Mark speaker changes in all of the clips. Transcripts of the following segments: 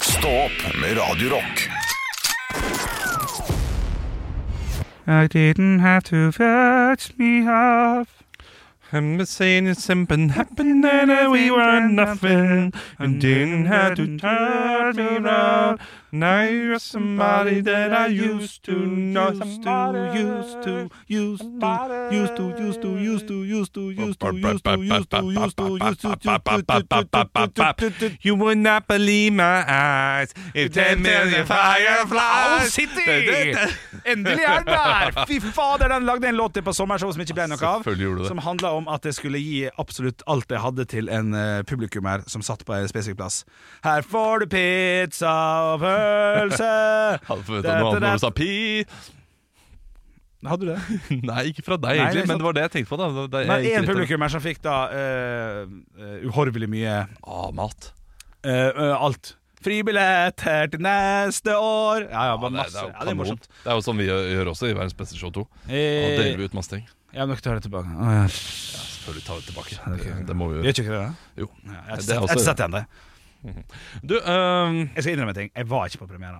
Speaker 1: Stå opp med Radio Rock.
Speaker 2: I didn't have to fetch me off.
Speaker 3: I'm just saying it's something happened and we were nothing. And didn't have to turn me around. Now you're somebody that I used to know. Used to, used to, used to, used to, used to, used to, used to, used to, used to, used to, used to, used to, used to. You would not believe my eyes if 10 million
Speaker 2: Owl
Speaker 3: fireflies.
Speaker 2: City! Endelig er den der! Fy fader, den lagde en låt til på sommershow som ikke ble noe av.
Speaker 3: Selvfølgelig gjorde du det.
Speaker 2: Som handla om at jeg skulle gi absolutt alt jeg hadde til en eh, publikummer som satt på en spesifikk plass. Her får du pizza og pølse
Speaker 3: Hadde forventet noe annet når du sa pi.
Speaker 2: Hadde du det?
Speaker 3: Nei, ikke fra deg
Speaker 2: Nei, det
Speaker 3: egentlig,
Speaker 2: er
Speaker 3: men det var det jeg tenkte på. da Det- det-
Speaker 2: Nei,
Speaker 3: jeg gikk
Speaker 2: en
Speaker 3: rett over.
Speaker 2: publikummer som fikk da eh, eh, uhorvelig mye
Speaker 3: Ah, mat.
Speaker 2: eh, eh, alt. Fribillett her til neste år! Ja, ja,
Speaker 3: Ja,
Speaker 2: bare
Speaker 3: det,
Speaker 2: masse.
Speaker 3: det, er jo
Speaker 2: Ja, det er
Speaker 3: kanon.
Speaker 2: morsomt.
Speaker 3: det er jo sånn vi gjør, gjør også i Verdens beste show 2. Da deler
Speaker 2: Eh,
Speaker 3: vi ut masse ting.
Speaker 2: jeg har nok til å ha det tilbake. Å, ja.
Speaker 3: Selvfølgelig tar vi tilbake.
Speaker 2: det er ikke-
Speaker 3: Det, det må vi
Speaker 2: Gjør
Speaker 3: gjøre.
Speaker 2: ikke dere det?
Speaker 3: Jo.
Speaker 2: Ja, jeg har
Speaker 3: Det er
Speaker 2: sett-
Speaker 3: også-
Speaker 2: jeg har sett igjen det.
Speaker 3: Du, ehm,
Speaker 2: Jeg skal innrømme en ting. Jeg var ikke på premiera.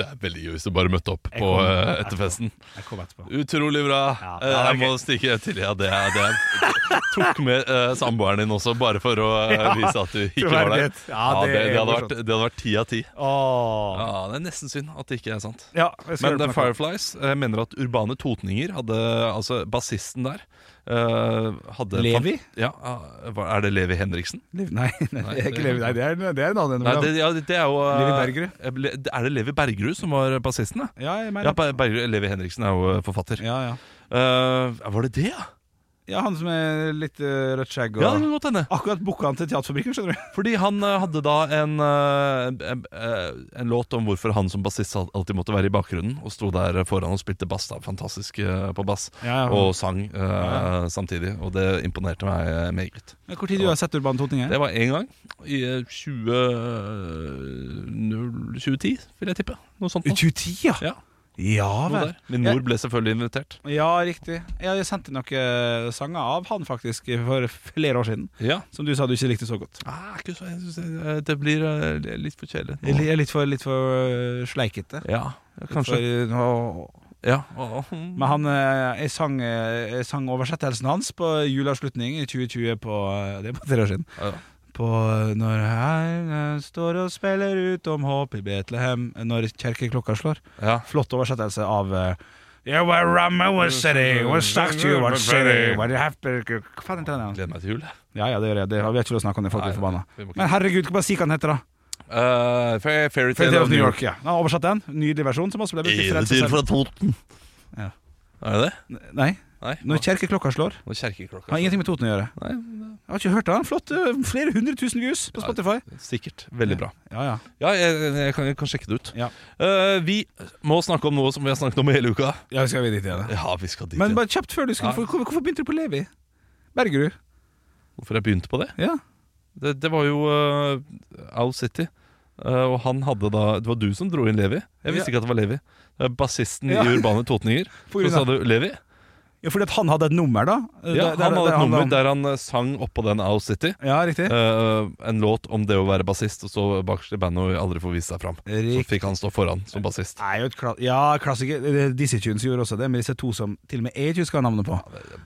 Speaker 3: det er veldig gøy hvis du bare møtte opp
Speaker 2: Jeg
Speaker 3: på
Speaker 2: kommer.
Speaker 3: eh, etterfesten.
Speaker 2: Jeg kom etterpå.
Speaker 3: Utrolig bra.
Speaker 2: Ja,
Speaker 3: Eh,
Speaker 2: ja,
Speaker 3: jeg
Speaker 2: det er
Speaker 3: må stikke til. Ja, det er det. er- Tok med eh, samboeren din også, bare for å eh, vise at du ikke var der.
Speaker 2: troverdighet. Ja, det
Speaker 3: det,
Speaker 2: er
Speaker 3: det, hadde
Speaker 2: morsomt.
Speaker 3: vært, det hadde vært ti av ti.
Speaker 2: Åh.
Speaker 3: Ja, det er nesten synd at det ikke er sant.
Speaker 2: Ja, jeg skal høre
Speaker 3: Men The
Speaker 2: på noe.
Speaker 3: Fireflies eh, mener at Urbane Totninger hadde Altså bassisten der eh, hadde
Speaker 2: Levi?
Speaker 3: Ja, eh, hva- Er det Levi Henriksen?
Speaker 2: Liv- Nei, nei, det er
Speaker 3: det-
Speaker 2: ikke Levi. Nei, det er, det er en annen.
Speaker 3: Nei, det, ja, det det er jo eh,
Speaker 2: Levi Bergerud?
Speaker 3: eh, Le- Er det Levi Bergerud som var bassisten? da?
Speaker 2: ja, jeg
Speaker 3: Ja,
Speaker 2: mener.
Speaker 3: Ber- Bergerud, Levi Henriksen er jo eh, forfatter.
Speaker 2: Ja, ja.
Speaker 3: Eh, var det det, ja?
Speaker 2: ja, han som er litt eh, rødt skjegg og
Speaker 3: Ja, det kan godt hende.
Speaker 2: Akkurat booka han til Teaterfabrikken, skjønner du.
Speaker 3: Fordi han eh, hadde da en, eh, en, eh, en låt om hvorfor han som bassist al- alltid måtte være i bakgrunnen, og sto der foran og spilte bass. da Fantastisk eh, på bass.
Speaker 2: Ja, ja.
Speaker 3: Og sang eh, samtidig, og det imponerte meg eh, meget.
Speaker 2: Men Hvor tid du har sett Urban Totninger?
Speaker 3: Det var én gang, i eh, 20, eh, null- 2010, vil jeg tippe. Noe sånt.
Speaker 2: I
Speaker 3: nå.
Speaker 2: 2010, ja?
Speaker 3: Ja,
Speaker 2: Ja
Speaker 3: noe
Speaker 2: vel.
Speaker 3: der. Min mor ble selvfølgelig invitert.
Speaker 2: Ja, riktig. Jeg sendte noen sanger av han faktisk for flere år siden,
Speaker 3: Ja.
Speaker 2: som du sa du ikke likte så godt.
Speaker 3: Ah, ikke så, jeg synes det, det blir eh, litt for kjedelig. nå.
Speaker 2: Jeg er litt for, litt for sleikete.
Speaker 3: Ja, ja,
Speaker 2: For, øh,
Speaker 3: kanskje.
Speaker 2: å,
Speaker 3: Ja. å, å.
Speaker 2: Men han, eh, jeg, sang, eh, jeg sang oversettelsen hans på juleavslutning i 2020 på, eh, Det er bare tre år siden.
Speaker 3: Ja.
Speaker 2: På eh, Når Herren står og spiller ut om håp i Betlehem eh, Når kjerkeklokka slår.
Speaker 3: Ja.
Speaker 2: Flott oversettelse av eh, Yeah, where Rama was city, was stuck to you, what city, what happened Hva faen heter den? igjen?
Speaker 3: Gleder meg til jul. jeg.
Speaker 2: Ja, ja, det gjør jeg. Det, vi har ikke lov å snakke om det, folk
Speaker 3: Nei,
Speaker 2: blir forbanna.
Speaker 3: vi må ikke-
Speaker 2: Men herregud, hva sier han heter, da?
Speaker 3: Eh, Fair-
Speaker 2: Fairy Tale of New York. ja Han har oversatt den. Nydelig versjon, som også ble brukt i
Speaker 3: Eventyr
Speaker 2: Frelsesarmeen.
Speaker 3: fra Toten.
Speaker 2: Ja.
Speaker 3: Er det det?
Speaker 2: Nei,
Speaker 3: Nei.
Speaker 2: når kjerkeklokka slår.
Speaker 3: Nå er kjerkeklokka.
Speaker 2: Han har ingenting med Toten å gjøre.
Speaker 3: Nei,
Speaker 2: Jeg har ikke hørt den. Flott. eh, Flere hundre tusen views på
Speaker 3: Ja.
Speaker 2: Spotify.
Speaker 3: Sikkert. Veldig bra.
Speaker 2: Ja, ja.
Speaker 3: Ja, jeg, jeg, kan, jeg kan sjekke det ut.
Speaker 2: Ja.
Speaker 3: Eh, vi må snakke om noe som vi har snakket om i hele uka.
Speaker 2: ja skal vi dit igjen? da?
Speaker 3: Ja, vi skal dit.
Speaker 2: Men
Speaker 3: ja.
Speaker 2: bare kjapt før du skulle
Speaker 3: Ja.
Speaker 2: for- Hvorfor, hvorfor begynte du på Levi? Bergerud?
Speaker 3: Hvorfor jeg begynte på det?
Speaker 2: Ja.
Speaker 3: Det, det var jo eh, Owl City. Eh, og han hadde da Det var du som dro inn Levi. Jeg visste
Speaker 2: Ja.
Speaker 3: ikke at det var Levi. Det er Bassisten
Speaker 2: Ja.
Speaker 3: i Urbane Totninger.
Speaker 2: På
Speaker 3: Så
Speaker 2: grunn
Speaker 3: sa
Speaker 2: av-
Speaker 3: du Levi?
Speaker 2: ja, fordi at han hadde et nummer, da? Eh,
Speaker 3: Ja,
Speaker 2: der- der-
Speaker 3: han hadde
Speaker 2: der
Speaker 3: et nummer
Speaker 2: om-
Speaker 3: der han eh, sang oppå den Owl City.
Speaker 2: Ja, riktig.
Speaker 3: Eh, en låt om det å være bassist og stå bakerst i bandet og aldri få vist seg fram. Så
Speaker 2: Riktig.
Speaker 3: fikk han stå foran som bassist.
Speaker 2: Er jo et kla ja, klassiker. Eh, Dizzie Tunes gjorde også det, men disse to som til og med jeg ikke husker navnet på.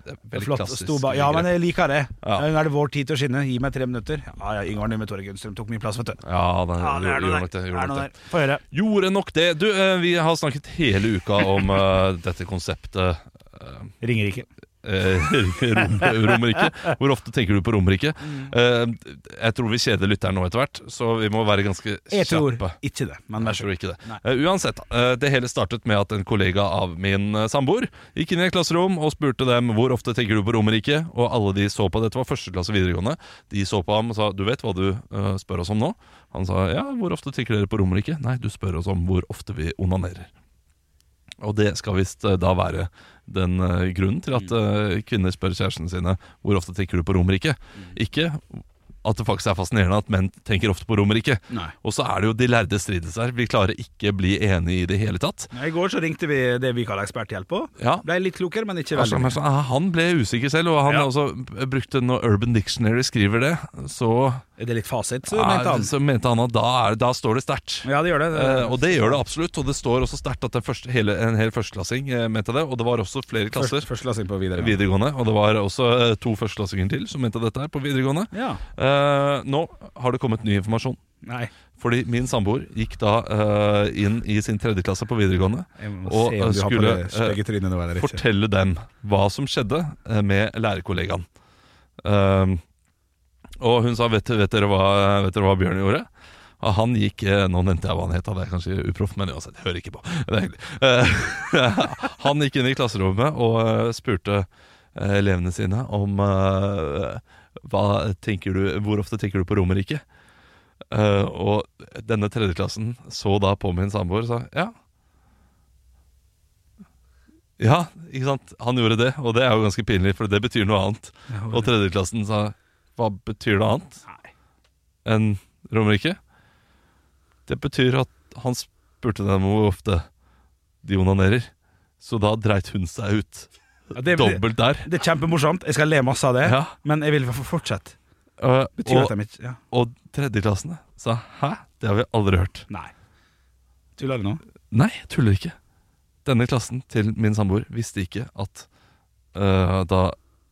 Speaker 3: Det er veldig
Speaker 2: Flott.
Speaker 3: klassisk
Speaker 2: sto ba- ja, men
Speaker 3: grep.
Speaker 2: jeg liker det.
Speaker 3: Ja.
Speaker 2: Nå er det vår tid til å skinne. Gi meg tre minutter. Ja, ja, Yngvar Nymme Tore Gunnstrøm tok mye plass, vet du.
Speaker 3: ja,
Speaker 2: Ja, det
Speaker 3: det,
Speaker 2: er noe
Speaker 3: gjorde
Speaker 2: der.
Speaker 3: nok det.
Speaker 2: Det
Speaker 3: Gjorde
Speaker 2: er
Speaker 3: nok
Speaker 2: noe
Speaker 3: det.
Speaker 2: der. Få høre.
Speaker 3: Gjorde nok det. Du, eh, vi har snakket hele uka om eh, dette konseptet
Speaker 2: Ringerike.
Speaker 3: eh, Rom- Romerike. Hvor ofte tenker du på Romerike? Eh, jeg tror vi kjeder lytteren nå etter hvert, så vi må være ganske
Speaker 2: Jeg tror
Speaker 3: kjappe.
Speaker 2: ikke det, men vær
Speaker 3: Jeg
Speaker 2: så god.
Speaker 3: tror ikke det.
Speaker 2: Nei.
Speaker 3: Eh, uansett, eh, det hele startet med at en kollega av min eh, samboer gikk inn i et klasserom og spurte dem hvor ofte tenker du på Romerike, og alle de så på dette var første klasse videregående. De så på ham og sa du vet hva du eh, spør oss om nå? Han sa ja, hvor ofte tenker dere på Romerike? Nei, du spør oss om hvor ofte vi onanerer. Og det skal visst eh, da være den eh, grunnen til at eh, kvinner spør kjærestene sine hvor ofte tenker du på Romerike. Ikke at det faktisk er fascinerende at menn tenker ofte på Romerike.
Speaker 2: Nei.
Speaker 3: Og så er det jo de lærde strides her. Vi klarer ikke bli enige i det hele tatt.
Speaker 2: I går så ringte vi det vi kaller eksperthjelp på.
Speaker 3: Ja.
Speaker 2: Ble litt klokere, men ikke
Speaker 3: Altså,
Speaker 2: veldig.
Speaker 3: men så- han ble usikker selv, og han
Speaker 2: Ja.
Speaker 3: også brukte når Urban Dictionary skriver det, så,
Speaker 2: Er det litt fasit, så
Speaker 3: ja,
Speaker 2: mente han.
Speaker 3: så mente han at da, er, da står det sterkt.
Speaker 2: Ja, det gjør det.
Speaker 3: Eh, og det gjør det absolutt, og det står også sterkt at en, første, hele, en hel førsteklassing eh, mente det. Og det var også flere klasser
Speaker 2: Først, Førsteklassing på videre.
Speaker 3: videregående, og det var også eh, to førsteklassinger til som mente dette her på videregående.
Speaker 2: Ja.
Speaker 3: Eh, nå har det kommet ny informasjon.
Speaker 2: Nei.
Speaker 3: Fordi min samboer gikk da eh, inn i sin tredje klasse på videregående
Speaker 2: Jeg må
Speaker 3: Og, eh,
Speaker 2: se om du har på
Speaker 3: skulle,
Speaker 2: det stygge trynet nå eller ikke.
Speaker 3: fortelle dem hva som skjedde eh, med lærerkollegaen. Ehm, og hun sa vet, vet, dere hva, vet dere hva Bjørn gjorde? Og han gikk eh, Nå nevnte jeg hva han het, da, det er kanskje uproft, men uansett, hører ikke på. Det er hyggelig. Eh, han gikk inn i klasserommet og eh, spurte eh, elevene sine om eh, hva tenker du, Hvor ofte tenker du på Romerike? Eh, og denne tredjeklassen så da på min samboer og sa ja, ja, ikke sant? Han gjorde det, og det er jo ganske pinlig, for det betyr noe annet. Og tredjeklassen sa Hva betyr noe annet
Speaker 2: Nei.
Speaker 3: enn Romerike? Det betyr at han spurte dem om hvor ofte de onanerer. Så da dreit hun seg ut.
Speaker 2: Ja, det, det,
Speaker 3: Dobbelt der.
Speaker 2: det er kjempemorsomt. Jeg skal le masse av det,
Speaker 3: Ja.
Speaker 2: men jeg vil få fortsette.
Speaker 3: øh,
Speaker 2: Betyr
Speaker 3: Og,
Speaker 2: at de ikke ja.
Speaker 3: og tredjeklassene sa Hæ? Det har vi aldri hørt.
Speaker 2: Nei. Tuller du nå?
Speaker 3: Nei, jeg tuller ikke. Denne klassen til min samboer visste ikke at øh, da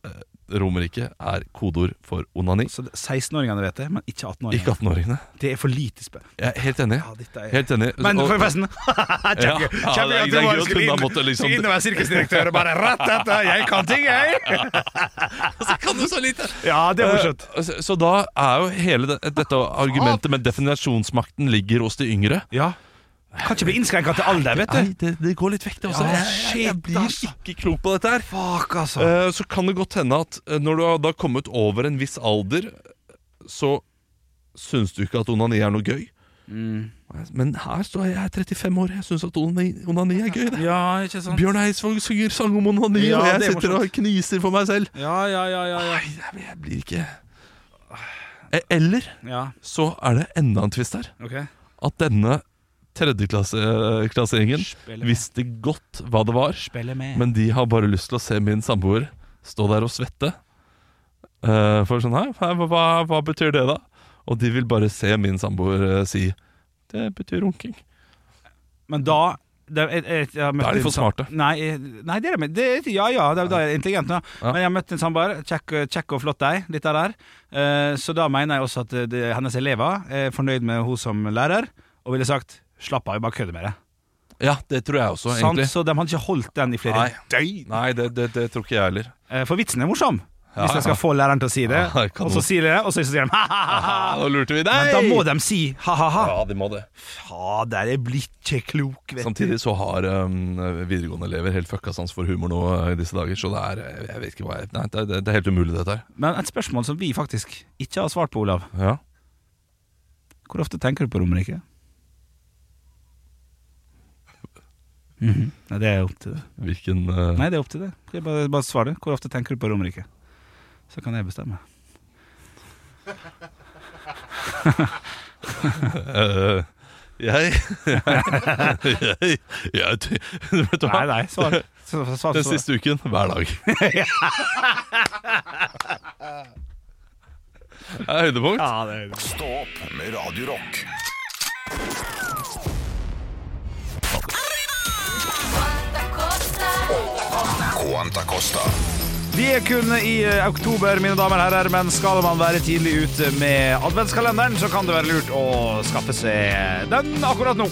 Speaker 3: øh, Romerike er kodeord for onani.
Speaker 2: Så det- 16-åringene vet det, men ikke 18-åringene.
Speaker 3: Ikke 18-åringene.
Speaker 2: Det er for lite spenn.
Speaker 3: Jeg er helt enig.
Speaker 2: Ja, dette er...
Speaker 3: Helt enig.
Speaker 2: Men
Speaker 3: Og-
Speaker 2: forresten
Speaker 3: ja,
Speaker 2: Kjempegøy.
Speaker 3: ja, det er- det er gøy at hun har måttet liksom
Speaker 2: Inn og være sirkusdirektør og bare Rett dette, jeg kan ting, jeg!
Speaker 3: Så kan du så lite!
Speaker 2: Ja, det er morsomt.
Speaker 3: Eh, Så så da er jo hele det, dette argumentet med definasjonsmakten ligger hos de yngre.
Speaker 2: Ja. Kan ikke bli innskrenka til alder, vet
Speaker 3: Eh, Nei,
Speaker 2: du.
Speaker 3: det, det går litt vekk, det også.
Speaker 2: Ja,
Speaker 3: Jeg- jeg, jeg
Speaker 2: shit,
Speaker 3: blir
Speaker 2: altså.
Speaker 3: ikke klok på dette her.
Speaker 2: Fuck, altså.
Speaker 3: Eh, Så kan det godt hende at eh, når du har da kommet over en viss alder, så syns du ikke at onani er noe gøy.
Speaker 2: Mm.
Speaker 3: Men her står jeg, jeg er 35 år, jeg syns at onani, onani er gøy. Det.
Speaker 2: Ja, ikke sant?
Speaker 3: Bjørn Eidsvåg synger sang om onani,
Speaker 2: Ja,
Speaker 3: og jeg
Speaker 2: det er
Speaker 3: sitter og kniser for meg selv.
Speaker 2: Ja, ja, ja, ja, ja.
Speaker 3: Nei, jeg, jeg blir ikke Eh, Eller
Speaker 2: ja.
Speaker 3: så er det enda en twist her.
Speaker 2: Ok.
Speaker 3: At denne tredjeklasseringen
Speaker 2: Spille med.
Speaker 3: visste godt hva det var,
Speaker 2: Spille med.
Speaker 3: men de har bare lyst til å se min samboer stå der og svette. Eh, for sånn her, hva, hva, hva betyr det, da? Og de vil bare se min samboer eh, si det betyr runking.
Speaker 2: Men da da- jeg- jeg- jeg har møtt
Speaker 3: Da er de
Speaker 2: en
Speaker 3: for
Speaker 2: sam-
Speaker 3: smarte.
Speaker 2: Nei, jeg- nei det er de det, Ja ja, da da er jeg intelligent. Da.
Speaker 3: Ja.
Speaker 2: Men jeg har møtt en samboer. Kjekk, eh, kjekk og flott deg, dette der. Eh, så da mener jeg også at eh, det, hennes elever er fornøyd med henne som lærer, og ville sagt slapp av, jeg bare kødder med det.
Speaker 3: Ja, det tror jeg også,
Speaker 2: Sant?
Speaker 3: egentlig.
Speaker 2: Så de hadde ikke holdt den i flere
Speaker 3: Nei.
Speaker 2: døgn.
Speaker 3: Nei, det, det, det tror ikke jeg heller.
Speaker 2: Eh, For vitsen er morsom,
Speaker 3: Ja,
Speaker 2: hvis jeg
Speaker 3: ja.
Speaker 2: skal få læreren til å si det.
Speaker 3: Ja, det kan
Speaker 2: og
Speaker 3: du.
Speaker 2: så sier de det, og så sier de ha-ha-ha.
Speaker 3: Nå lurte vi
Speaker 2: Men
Speaker 3: deg!
Speaker 2: da må de si ha-ha-ha.
Speaker 3: Ja, de må det.
Speaker 2: Fader, jeg blir ikke klok, vet
Speaker 3: Samtidig så har um, videregående elever helt fucka sans for humor nå uh, i disse dager, så det er eh, Jeg vet ikke hva jeg Nei, det, det, det er helt umulig, dette her.
Speaker 2: du. Men et spørsmål som vi faktisk ikke har svart på, Olav.
Speaker 3: Ja.
Speaker 2: Hvor ofte tenker du på Romerike? Mhm. Nei, det er opp til det.
Speaker 3: Hvilken eh,
Speaker 2: Nei, det er opp til det. Jeg bare, bare svar det. Hvor ofte tenker du på Romerike? Så kan jeg bestemme.
Speaker 3: eh, jeg, jeg, jeg ty- Vet du
Speaker 2: Nei, altså-
Speaker 3: hva?
Speaker 2: nei, svar. Så- så- svar,
Speaker 3: Den
Speaker 2: svar.
Speaker 3: siste uken, hver dag. Det er høydepunkt.
Speaker 2: Ja, det er
Speaker 1: Stå opp med Radio Rock. Quanta Costa.
Speaker 2: Vi er kun i eh, oktober, mine damer og herrer, men skal man være tidlig ute med adventskalenderen, så kan det være lurt å skaffe seg den akkurat nå.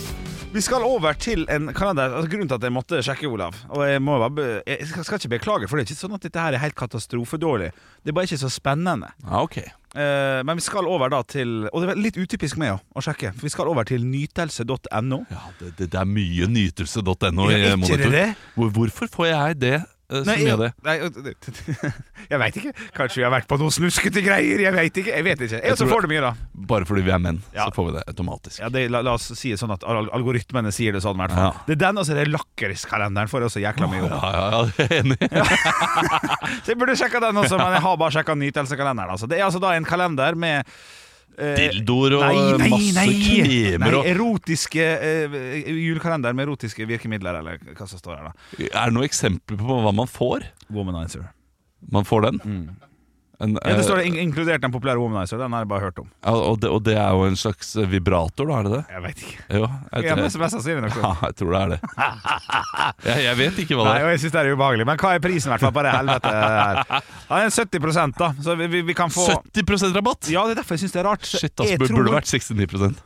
Speaker 2: Vi skal over til en kalender altså, Grunnen til at jeg måtte sjekke, Olav Og jeg, må bare, be- jeg skal, skal ikke beklage, for det er ikke sånn at dette her er helt katastrofedårlig. Det er bare ikke så spennende.
Speaker 3: Ja, ok.
Speaker 2: Eh, men vi skal over da til Og det var litt utypisk meg også, å sjekke, for vi skal over til nytelse.no.
Speaker 3: Ja, det, det, det er mye nytelse.no
Speaker 2: Ja,
Speaker 3: i eh,
Speaker 2: ikke det
Speaker 3: monitor.
Speaker 2: det?
Speaker 3: Hvor, hvorfor får jeg det eh, så
Speaker 2: Nei,
Speaker 3: mye av det.
Speaker 2: Nei, jeg veit ikke. Kanskje vi har vært på noen snuskete greier. Jeg veit ikke. Jeg vet ikke. Jeg,
Speaker 3: tror-
Speaker 2: får det mye, da.
Speaker 3: Bare fordi vi er menn,
Speaker 2: Ja.
Speaker 3: så får vi det automatisk.
Speaker 2: Ja, det, la, la oss si det sånn at al- algoritmene sier det sånn, i hvert fall.
Speaker 3: Ja.
Speaker 2: Det er den, og så er det lakriskalenderen for også jækla mye om.
Speaker 3: Ja, ja, ja, det er jeg enig. i.
Speaker 2: Så jeg burde sjekka den også, men jeg har bare sjekka nytelsekalenderen. Altså. Det er altså da en kalender med eh,
Speaker 3: Dildoer og
Speaker 2: Nei, nei,
Speaker 3: masse
Speaker 2: nei! nei
Speaker 3: kremer og
Speaker 2: erotiske eh, Julekalender med erotiske virkemidler, eller hva som står her, da.
Speaker 3: Er det noen eksempler på hva man får?
Speaker 2: Womanizer.
Speaker 3: Man får den. En,
Speaker 2: Mm. Ja, det
Speaker 3: eh,
Speaker 2: står det, in inkludert den populære womanizer. Den har jeg bare hørt om.
Speaker 3: ja, og, det, og det er jo en slags eh, vibrator, da, er det det?
Speaker 2: Jeg veit ikke.
Speaker 3: Jo, jeg,
Speaker 2: Ja,
Speaker 3: tror-
Speaker 2: men så mest sannsynlig nok.
Speaker 3: ja, jeg tror det er det. Jeg, jeg vet ikke hva det
Speaker 2: Nei,
Speaker 3: er.
Speaker 2: og jeg synes det er ubehagelig. Men hva er prisen i hvert fall på det helvete her? Ja, det er 70 da, så vi, vi, vi kan få
Speaker 3: 70 rabatt!
Speaker 2: Ja, det er derfor jeg syns det er rart. Så
Speaker 3: Shit, ass,
Speaker 2: jeg
Speaker 3: burde det
Speaker 2: tror-
Speaker 3: vært 69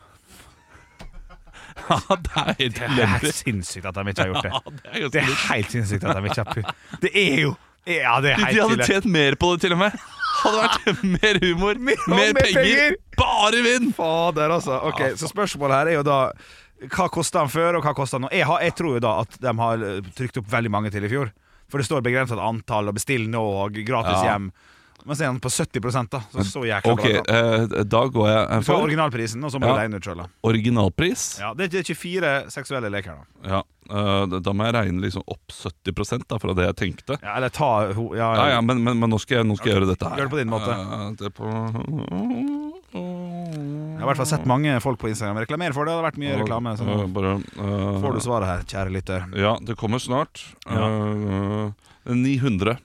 Speaker 3: Ja, det er helt
Speaker 2: Det er
Speaker 3: elendig.
Speaker 2: helt sinnssykt at de ikke har gjort
Speaker 3: Ja,
Speaker 2: det.
Speaker 3: det er ganske
Speaker 2: Det er
Speaker 3: vilt.
Speaker 2: helt sinnssykt at de ikke har pu- Det er jo Ja, det er
Speaker 3: De, de
Speaker 2: helt
Speaker 3: hadde
Speaker 2: ille.
Speaker 3: tjent mer på det, til og med. Hadde vært mer humor, mer,
Speaker 2: mer
Speaker 3: penger.
Speaker 2: penger.
Speaker 3: Bare vinn!
Speaker 2: Fader, altså. Ok, Så spørsmålet her er jo da hva kosta den før, og hva kosta den nå? Jeg, har, jeg tror jo da at de har eh, trykt opp veldig mange til i fjor. For det står begrenset antall, og bestill nå, og gratis
Speaker 3: Ja.
Speaker 2: hjem. Men så er den på 70 da. Så, så jækla
Speaker 3: Ok,
Speaker 2: bra. da.
Speaker 3: eh, da går jeg
Speaker 2: Så
Speaker 3: for
Speaker 2: originalprisen, og så må
Speaker 3: Ja.
Speaker 2: du regne ut sjøl, da.
Speaker 3: originalpris.
Speaker 2: Ja, det er 24 seksuelle leker, da.
Speaker 3: Ja, eh, da- da må jeg regne liksom opp 70 da, fra det jeg tenkte.
Speaker 2: Ja, eller ta ho... Ja,
Speaker 3: Ja, ja, men, men, men nå skal jeg, nå skal jeg gjøre dette her.
Speaker 2: Gjør det på din måte.
Speaker 3: Eh, det er på
Speaker 2: Jeg har i hvert fall sett mange folk på Instagram reklamere for det. Det har vært mye reklame. Så nå
Speaker 3: Eh, bare, eh,
Speaker 2: får du svaret her, kjære lytter.
Speaker 3: Ja, det kommer snart. Eh, eh, 900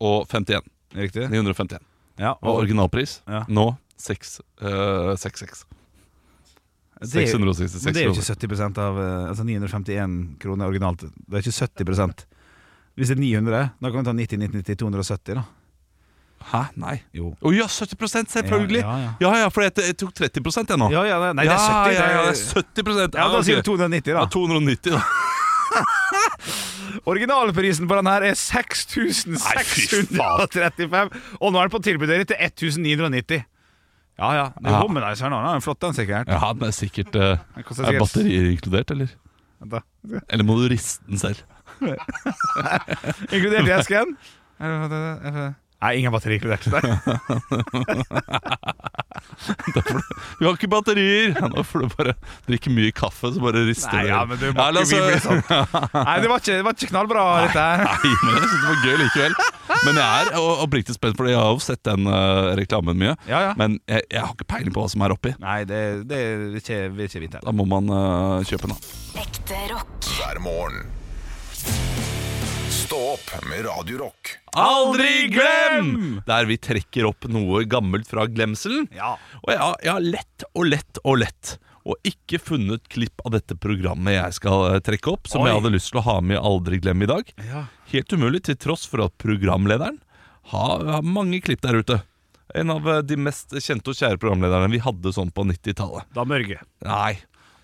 Speaker 3: og 51.
Speaker 2: Riktig?
Speaker 3: 951.
Speaker 2: Ja,
Speaker 3: Og
Speaker 2: og
Speaker 3: originalpris
Speaker 2: Ja.
Speaker 3: nå 6, eh, 66.
Speaker 2: det er jo-
Speaker 3: 666
Speaker 2: men det er jo
Speaker 3: kroner.
Speaker 2: ikke 70 av eh, Altså 951 kroner originalt. Det er ikke 70 Hvis det er 900, da kan vi ta 90, 90, 90, 270, da.
Speaker 3: Hæ? Nei.
Speaker 2: Jo.
Speaker 3: Å ja, 70 selvfølgelig!
Speaker 2: Ja, ja,
Speaker 3: Ja, ja, for jeg, jeg tok 30 jeg nå.
Speaker 2: Ja, ja, nei, det er 70.
Speaker 3: Ja, ja, ja, det
Speaker 2: det er-
Speaker 3: er 70
Speaker 2: ja da
Speaker 3: ok.
Speaker 2: sier du 290,
Speaker 3: Ja,
Speaker 2: da.
Speaker 3: 290, da.
Speaker 2: Originalprisen på den her er
Speaker 3: Nei, fy
Speaker 2: 6635, og nå er den på tilbudet til 1990. Ja ja. Det er
Speaker 3: Ja.
Speaker 2: Womanizer nå. Den er flott, den, sikkert.
Speaker 3: Ja, den er sikkert eh,
Speaker 2: Den koster
Speaker 3: Er
Speaker 2: sikkert-
Speaker 3: batterier inkludert, eller?
Speaker 2: Vent da.
Speaker 3: Eller må du riste den selv?
Speaker 2: Inkludert i esken? Nei, ingen batteri inkludert. Nei.
Speaker 3: Vi har ikke batterier! Ja, Nå får du bare drikke mye kaffe, så bare rister
Speaker 2: Nei,
Speaker 3: du.
Speaker 2: ja, men du må
Speaker 3: Ja,
Speaker 2: ikke
Speaker 3: la oss- eh,
Speaker 2: bli med sånn. Nei, det var ikke, det var ikke knallbra, dette her.
Speaker 3: Nei, men jeg synes det var gøy likevel. Men jeg er o- oppriktig spent, for jeg har jo sett den eh, reklamen mye.
Speaker 2: Ja, ja.
Speaker 3: Men jeg, jeg har ikke peiling på hva som er oppi.
Speaker 2: Nei, det, det vil ikke, vil ikke vite.
Speaker 3: Da må man eh, kjøpe den, da.
Speaker 4: Ekte rock.
Speaker 1: hver morgen. Stå opp med Radio Rock.
Speaker 3: Aldri glem! Der vi trekker opp noe gammelt fra glemselen.
Speaker 2: Ja.
Speaker 3: Og jeg har, jeg har lett og lett og lett og ikke funnet klipp av dette programmet jeg skal eh, trekke opp, som
Speaker 2: Oi.
Speaker 3: jeg hadde lyst til å ha med i Aldri glem i dag.
Speaker 2: Ja.
Speaker 3: Helt umulig, til tross for at programlederen har, har mange klipp der ute. En av eh, de mest kjente og kjære programlederne vi hadde sånn på 90-tallet.
Speaker 2: Da Mørge.
Speaker 3: Nei.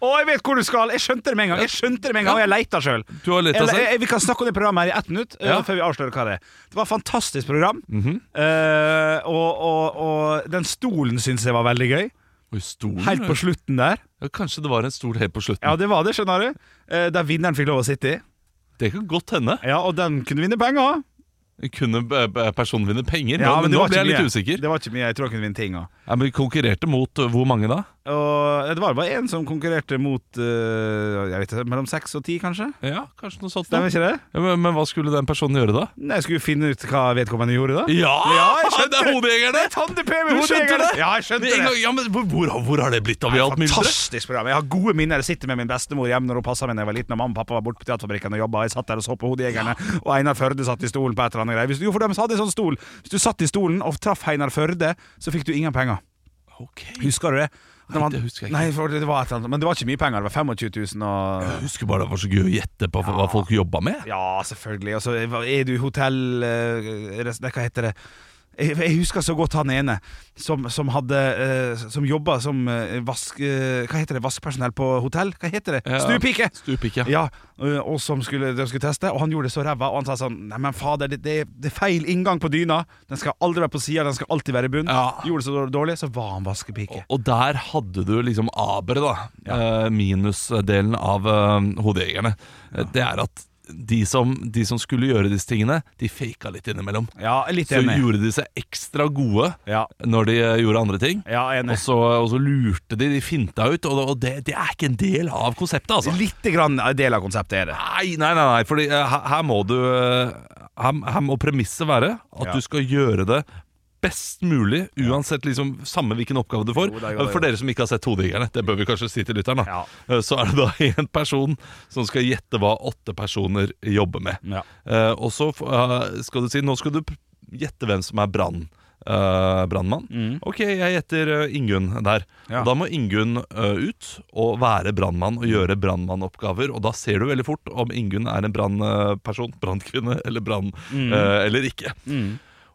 Speaker 2: Å, jeg vet hvor du skal! Jeg skjønte det med en gang. Jeg skjønte det med en gang, og jeg leita sjøl.
Speaker 3: Du har lett av
Speaker 2: Eller,
Speaker 3: selv?
Speaker 2: eh, vi kan snakke om det programmet her i ett minutt, eh,
Speaker 3: altså. Ja. Mhm.
Speaker 2: før vi avslører hva det er. Det var et fantastisk program. Eh, og, og, og den stolen syns jeg var veldig gøy.
Speaker 3: Oi, stolen?
Speaker 2: eh, Helt på slutten der.
Speaker 3: ja, kanskje det var en stol helt på slutten.
Speaker 2: Ja, det var det, skjønner du. Eh, der vinneren fikk lov å sitte i.
Speaker 3: Det kan godt hende.
Speaker 2: Ja, og den kunne vinne penger.
Speaker 3: Kunne eh, eh, personen vinne penger?
Speaker 2: Ja,
Speaker 3: nå, men
Speaker 2: det
Speaker 3: nå
Speaker 2: var
Speaker 3: ble
Speaker 2: ikke
Speaker 3: jeg litt
Speaker 2: mye.
Speaker 3: usikker.
Speaker 2: Det var ikke mye, jeg tror han kunne vinne ting også.
Speaker 3: Ja, men vi konkurrerte mot eh, hvor mange da?
Speaker 2: Og det var bare en som konkurrerte mot eh, Jeg vet ikke, mellom 6 og 10 kanskje
Speaker 3: Ja, kanskje noe sånt. da.
Speaker 2: Stemmer ikke det?
Speaker 3: Ja, men, men hva skulle den personen gjøre da?
Speaker 2: Nei, jeg skulle finne ut hva vedkommende gjorde da
Speaker 3: Ja,
Speaker 2: jeg skjønte
Speaker 3: det er hodejegerne!
Speaker 2: Tante P
Speaker 3: Du
Speaker 2: med
Speaker 3: skjønte
Speaker 2: hodejegerne!
Speaker 3: det?
Speaker 2: Ja, jeg
Speaker 3: Men
Speaker 2: skjønte
Speaker 3: en
Speaker 2: det
Speaker 3: gang- Ja, men hvor, hvor, hvor har det blitt av i alt mylderet?
Speaker 2: Fantastisk program, jeg har gode minner Jeg sitter med min bestemor hjemme når hun passet meg når jeg var liten Og mamma og pappa var borte på teaterfabrikken og jobbet Jeg satt der og så på hodejegerne Og Einar Førde satt i stolen på et eller annet greier Hvis du, Jo, for de hadde en sånn stol Hvis du satt i stolen og traff Einar Førde Så fikk du ingen penger
Speaker 3: Ok.
Speaker 2: Husker du det?
Speaker 3: Nei, det husker jeg ikke.
Speaker 2: Nei, for det var et eller annet Men det var ikke mye penger, det var 25 000 og...
Speaker 3: Jeg husker bare det var så gøy å gjette på hva folk jobba med.
Speaker 2: Ja, selvfølgelig. Og så er du i hotell eh, rest- Nei, hva heter det? Jeg, jeg husker så godt han ene som, som hadde eh, Som jobba som eh, vask... eh, hva heter det? Vaskepersonell på hotell? Hva heter det?
Speaker 3: Ja.
Speaker 2: Stuepike!
Speaker 3: Stuepike.
Speaker 2: Ja, eh, og som skulle, de skulle teste, og han gjorde det så ræva. Og han sa sånn Nei, men fader, det, det, er- det er feil inngang på dyna. Den skal aldri være på sida, den skal alltid være i bunnen.
Speaker 3: Ja.
Speaker 2: Gjorde det så dårlig, så var han vaskepike.
Speaker 3: Og der hadde du liksom aberet, da. Eh, minusdelen av eh, hodejegerne. Eh, Det er at de som, de som skulle gjøre disse tingene, de faka litt innimellom.
Speaker 2: Ja, litt
Speaker 3: Så
Speaker 2: enig.
Speaker 3: gjorde de seg ekstra gode
Speaker 2: Ja,
Speaker 3: når de eh, gjorde andre ting.
Speaker 2: ja
Speaker 3: Og
Speaker 2: enig.
Speaker 3: så, og så lurte de, de finta ut, og, og det, det er ikke en del av konseptet, altså.
Speaker 2: Litt grann en del av konseptet er det.
Speaker 3: Nei, nei, nei, nei fordi eh, her, her må du eh, Her, her må premisset være at
Speaker 2: Ja.
Speaker 3: du skal gjøre det best mulig, uansett liksom samme hvilken oppgave du får.
Speaker 2: Jo, det er jo det.
Speaker 3: For dere som ikke har sett Todigerne, det bør vi kanskje si til lytteren, da.
Speaker 2: Ja.
Speaker 3: Eh, Så er det da én person som skal gjette hva åtte personer jobber med.
Speaker 2: Ja.
Speaker 3: Eh, og så f- eh, skal du si Nå skal du p- gjette hvem som er brann. eh, brannmann. Ok, jeg gjetter eh, Ingunn der.
Speaker 2: Ja.
Speaker 3: Og Da må Ingunn eh, ut og være brannmann og gjøre brannmannoppgaver. Og da ser du veldig fort om Ingunn er en brannperson, brannkvinne eller brann eh, eller ikke.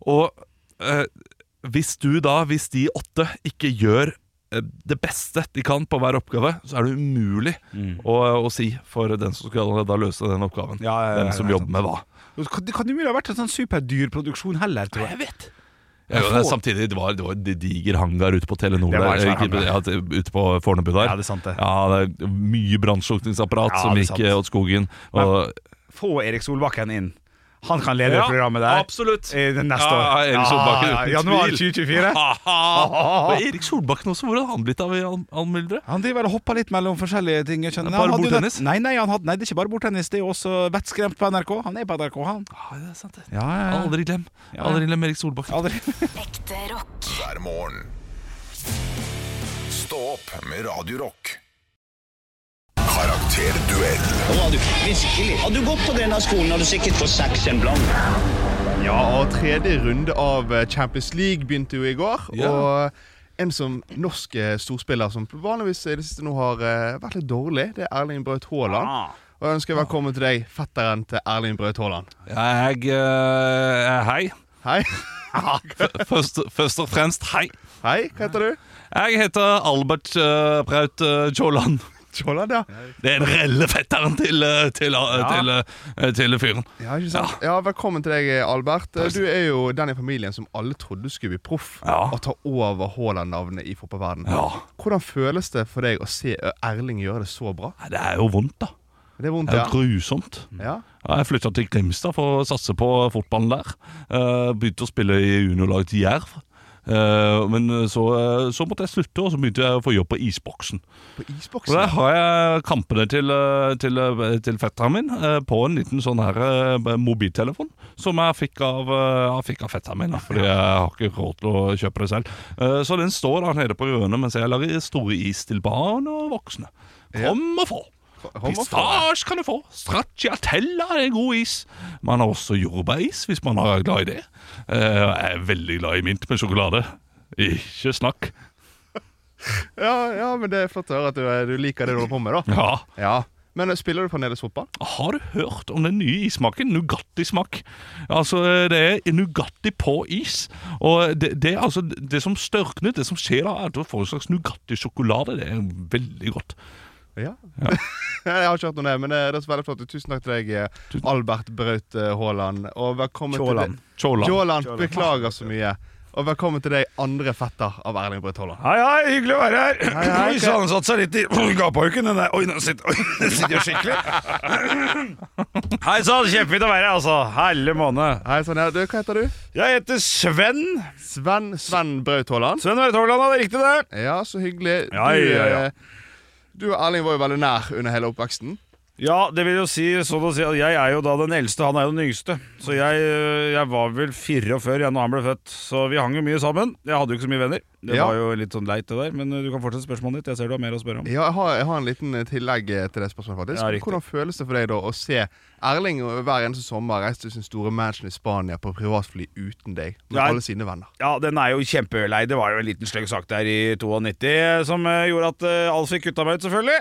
Speaker 3: Og eh, hvis du da, hvis de åtte ikke gjør eh, det beste de kan på hver oppgave, så er det umulig å, å si for den som skal da løse den oppgaven.
Speaker 2: Ja, ja, ja,
Speaker 3: Hvem som
Speaker 2: ja,
Speaker 3: jobber med hva.
Speaker 2: Det kan det kan umulig ha vært en sånn superdyrproduksjon heller, tror jeg.
Speaker 3: vet ja, Samtidig, det var, det var en diger hangar ute på Telenor
Speaker 2: Det var en
Speaker 3: der,
Speaker 2: svær
Speaker 3: ikke-
Speaker 2: hangar.
Speaker 3: ja, til- ute på Fornebu der.
Speaker 2: Ja, det er sant det.
Speaker 3: Ja, det er mye brannslukningsapparat
Speaker 2: Ja,
Speaker 3: som
Speaker 2: det er
Speaker 3: gikk
Speaker 2: sant.
Speaker 3: eh, åt skogen. Og,
Speaker 2: Få Erik Solbakken inn. Han kan lede programmet der.
Speaker 3: absolutt!
Speaker 2: I det neste
Speaker 3: ja,
Speaker 2: år.
Speaker 3: Erik Solbakken,
Speaker 2: Ja,
Speaker 3: uten
Speaker 2: januar
Speaker 3: tvil.
Speaker 2: 2024.
Speaker 3: Aha. Og Erik Solbakken også, hvor hadde han blitt av i all, all myldret?
Speaker 2: Han driver og hopper litt mellom forskjellige ting. Jeg skjønner. Han
Speaker 3: Bare
Speaker 2: hadde jo
Speaker 3: bordtennis?
Speaker 2: nett- Nei, nei, han hadde, nei, det er ikke bare bordtennis. Det er jo også vettskremt på NRK. Han er på NRK, han.
Speaker 3: Ja, det er sant det.
Speaker 2: Ja, ja, ja.
Speaker 3: Aldri glem
Speaker 2: Ja.
Speaker 3: Aldri glem Erik Solbakken.
Speaker 2: Aldri.
Speaker 4: Ekte rock.
Speaker 1: hver morgen. Stå opp med Radio Rock. Karakterduell
Speaker 5: Nå har du virkelig Har du gått på denne skolen, har du sikkert fått seks en blank.
Speaker 6: Ja, og tredje runde av eh, Champions League begynte jo i går.
Speaker 3: Ja.
Speaker 6: Og en som norsk eh, storspiller som vanligvis i det siste nå har eh, vært litt dårlig, det er Erling Braut Haaland.
Speaker 3: Ah.
Speaker 6: Og jeg ønsker velkommen til deg, fetteren til Erling Braut Haaland.
Speaker 3: Jeg eh, Hei.
Speaker 6: Hei.
Speaker 3: Først, først og fremst, hei.
Speaker 6: Hei, hva heter du?
Speaker 3: Jeg heter Albert eh, Braut uh, Tjåland.
Speaker 6: Haaland, ja.
Speaker 3: Det er den reelle fetteren til, eh, til, eh, til, eh, til fyren.
Speaker 6: Ja, ikke sant? Ja, Velkommen til deg, eh, Albert. Eh, Du er jo den i familien som alle trodde skulle bli proff
Speaker 3: Ja.
Speaker 6: og ta over Haaland-navnet i fotballverdenen.
Speaker 3: Ja.
Speaker 6: Hvordan føles det for deg å se eh, Erling gjøre det så bra?
Speaker 3: Nei, Det er jo vondt, da.
Speaker 6: Det er vondt,
Speaker 3: Det er
Speaker 6: ja.
Speaker 3: jo grusomt.
Speaker 6: ja.
Speaker 3: Ja, Jeg flytta til Grimstad for å satse på fotballen der. Eh, begynte å spille i juniorlaget til Jerv. Eh, men så, eh, så måtte jeg slutte, og så begynte jeg å få jobb på isboksen.
Speaker 6: På
Speaker 3: Og
Speaker 6: isboksen?
Speaker 3: der har jeg kampene til, eh, til, eh, til fetteren min eh, på en liten sånn her eh, mobiltelefon som jeg fikk av, eh, jeg fikk av fetteren min, da, fordi jeg har ikke råd til å kjøpe det selv. Eh, Så den står da nede på hjørnet mens jeg lager store is til barn og voksne. Kom og få!
Speaker 6: kom og få.
Speaker 3: Pistasje kan du få! Stracciatella er god is. Man har også jordbæris, hvis man er glad i det. Eh, Jeg er veldig glad i mint med sjokolade. Ikke snakk.
Speaker 6: Ja, ja, men det er flott å høre at du, er- du liker det du holder på med, da.
Speaker 3: Ja.
Speaker 6: Ja, Men eh, spiller du fremdeles fotball?
Speaker 3: Har du hørt om den nye issmaken? Nugatti-smak. Altså, det er Nugatti på is. Og det, det, er altså, det som størkner, det som skjer da, er at du får en slags Nugatti-sjokolade. Det er veldig godt.
Speaker 6: Ja. jeg har ikke hørt om det, men eh, det det er veldig flott. Tusen takk til deg, eh, Albert Braut eh, Haaland. Og velkommen
Speaker 2: Tjåland.
Speaker 6: til deg
Speaker 3: Tjåland.
Speaker 6: Tjåland. Beklager så mye. Og velkommen til deg, andre fetter av Erling Braut Haaland.
Speaker 2: Hei, hei, hyggelig å være her. Hei,
Speaker 6: hei.
Speaker 2: Hvis han satt seg litt i gapauken den der Oi, nå sitter, oi, nå sitter jeg skikkelig. Hei sann, kjempefint å være her, altså. Helle måned.
Speaker 6: Hei sann, ja. Du, hva heter du?
Speaker 2: Jeg heter Sven.
Speaker 6: Sven Sven Braut Haaland.
Speaker 2: Sven Vedt Hogland, det er riktig, det.
Speaker 6: Ja, så hyggelig.
Speaker 2: Ja, ja, ja.
Speaker 6: eh, Du og Erling var jo veldig nær under hele oppveksten.
Speaker 2: Ja, det vil jo si sånn å si at jeg er jo da den eldste, han er jo den yngste. Så jeg, øh, jeg var vel 44 da han ble født, så vi hang jo mye sammen. Jeg hadde jo ikke så mye venner. Det
Speaker 6: Ja.
Speaker 2: var jo litt sånn leit, det der. Men øh, du kan fortsette spørsmålet ditt. Jeg ser du har mer å spørre om.
Speaker 6: Ja, jeg har, jeg har en liten eh, tillegg eh, til det spørsmålet. faktisk
Speaker 2: Ja, riktig.
Speaker 6: Hvordan føles det for deg da å se Erling og hver eneste sommer reise til sin store mansion i Spania på privatfly uten deg, med
Speaker 2: Nei.
Speaker 6: alle sine venner?
Speaker 2: Ja, den er jo kjempelei. Det var jo en liten stygg sak der i 92 som eh, gjorde at eh, alt fikk kutta meg ut, selvfølgelig.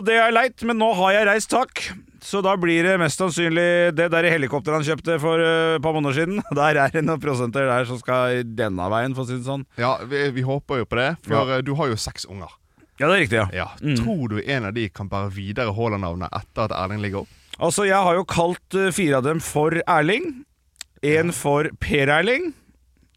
Speaker 2: Og det er leit, men nå har jeg reist tak. Så da blir det mest sannsynlig det der helikopteret han kjøpte for eh, et par måneder siden. Der er det noen prosenter der som skal denne veien, for å si det sånn.
Speaker 6: Ja, vi, vi håper jo på det, for eh, du har jo seks unger.
Speaker 2: Ja, det er riktig, ja. Mm.
Speaker 6: Ja, Tror du en av de kan bære videre Haaland-navnet etter at Erling ligger opp?
Speaker 2: Altså, jeg har jo kalt eh, fire av dem for Erling. En for Per Erling.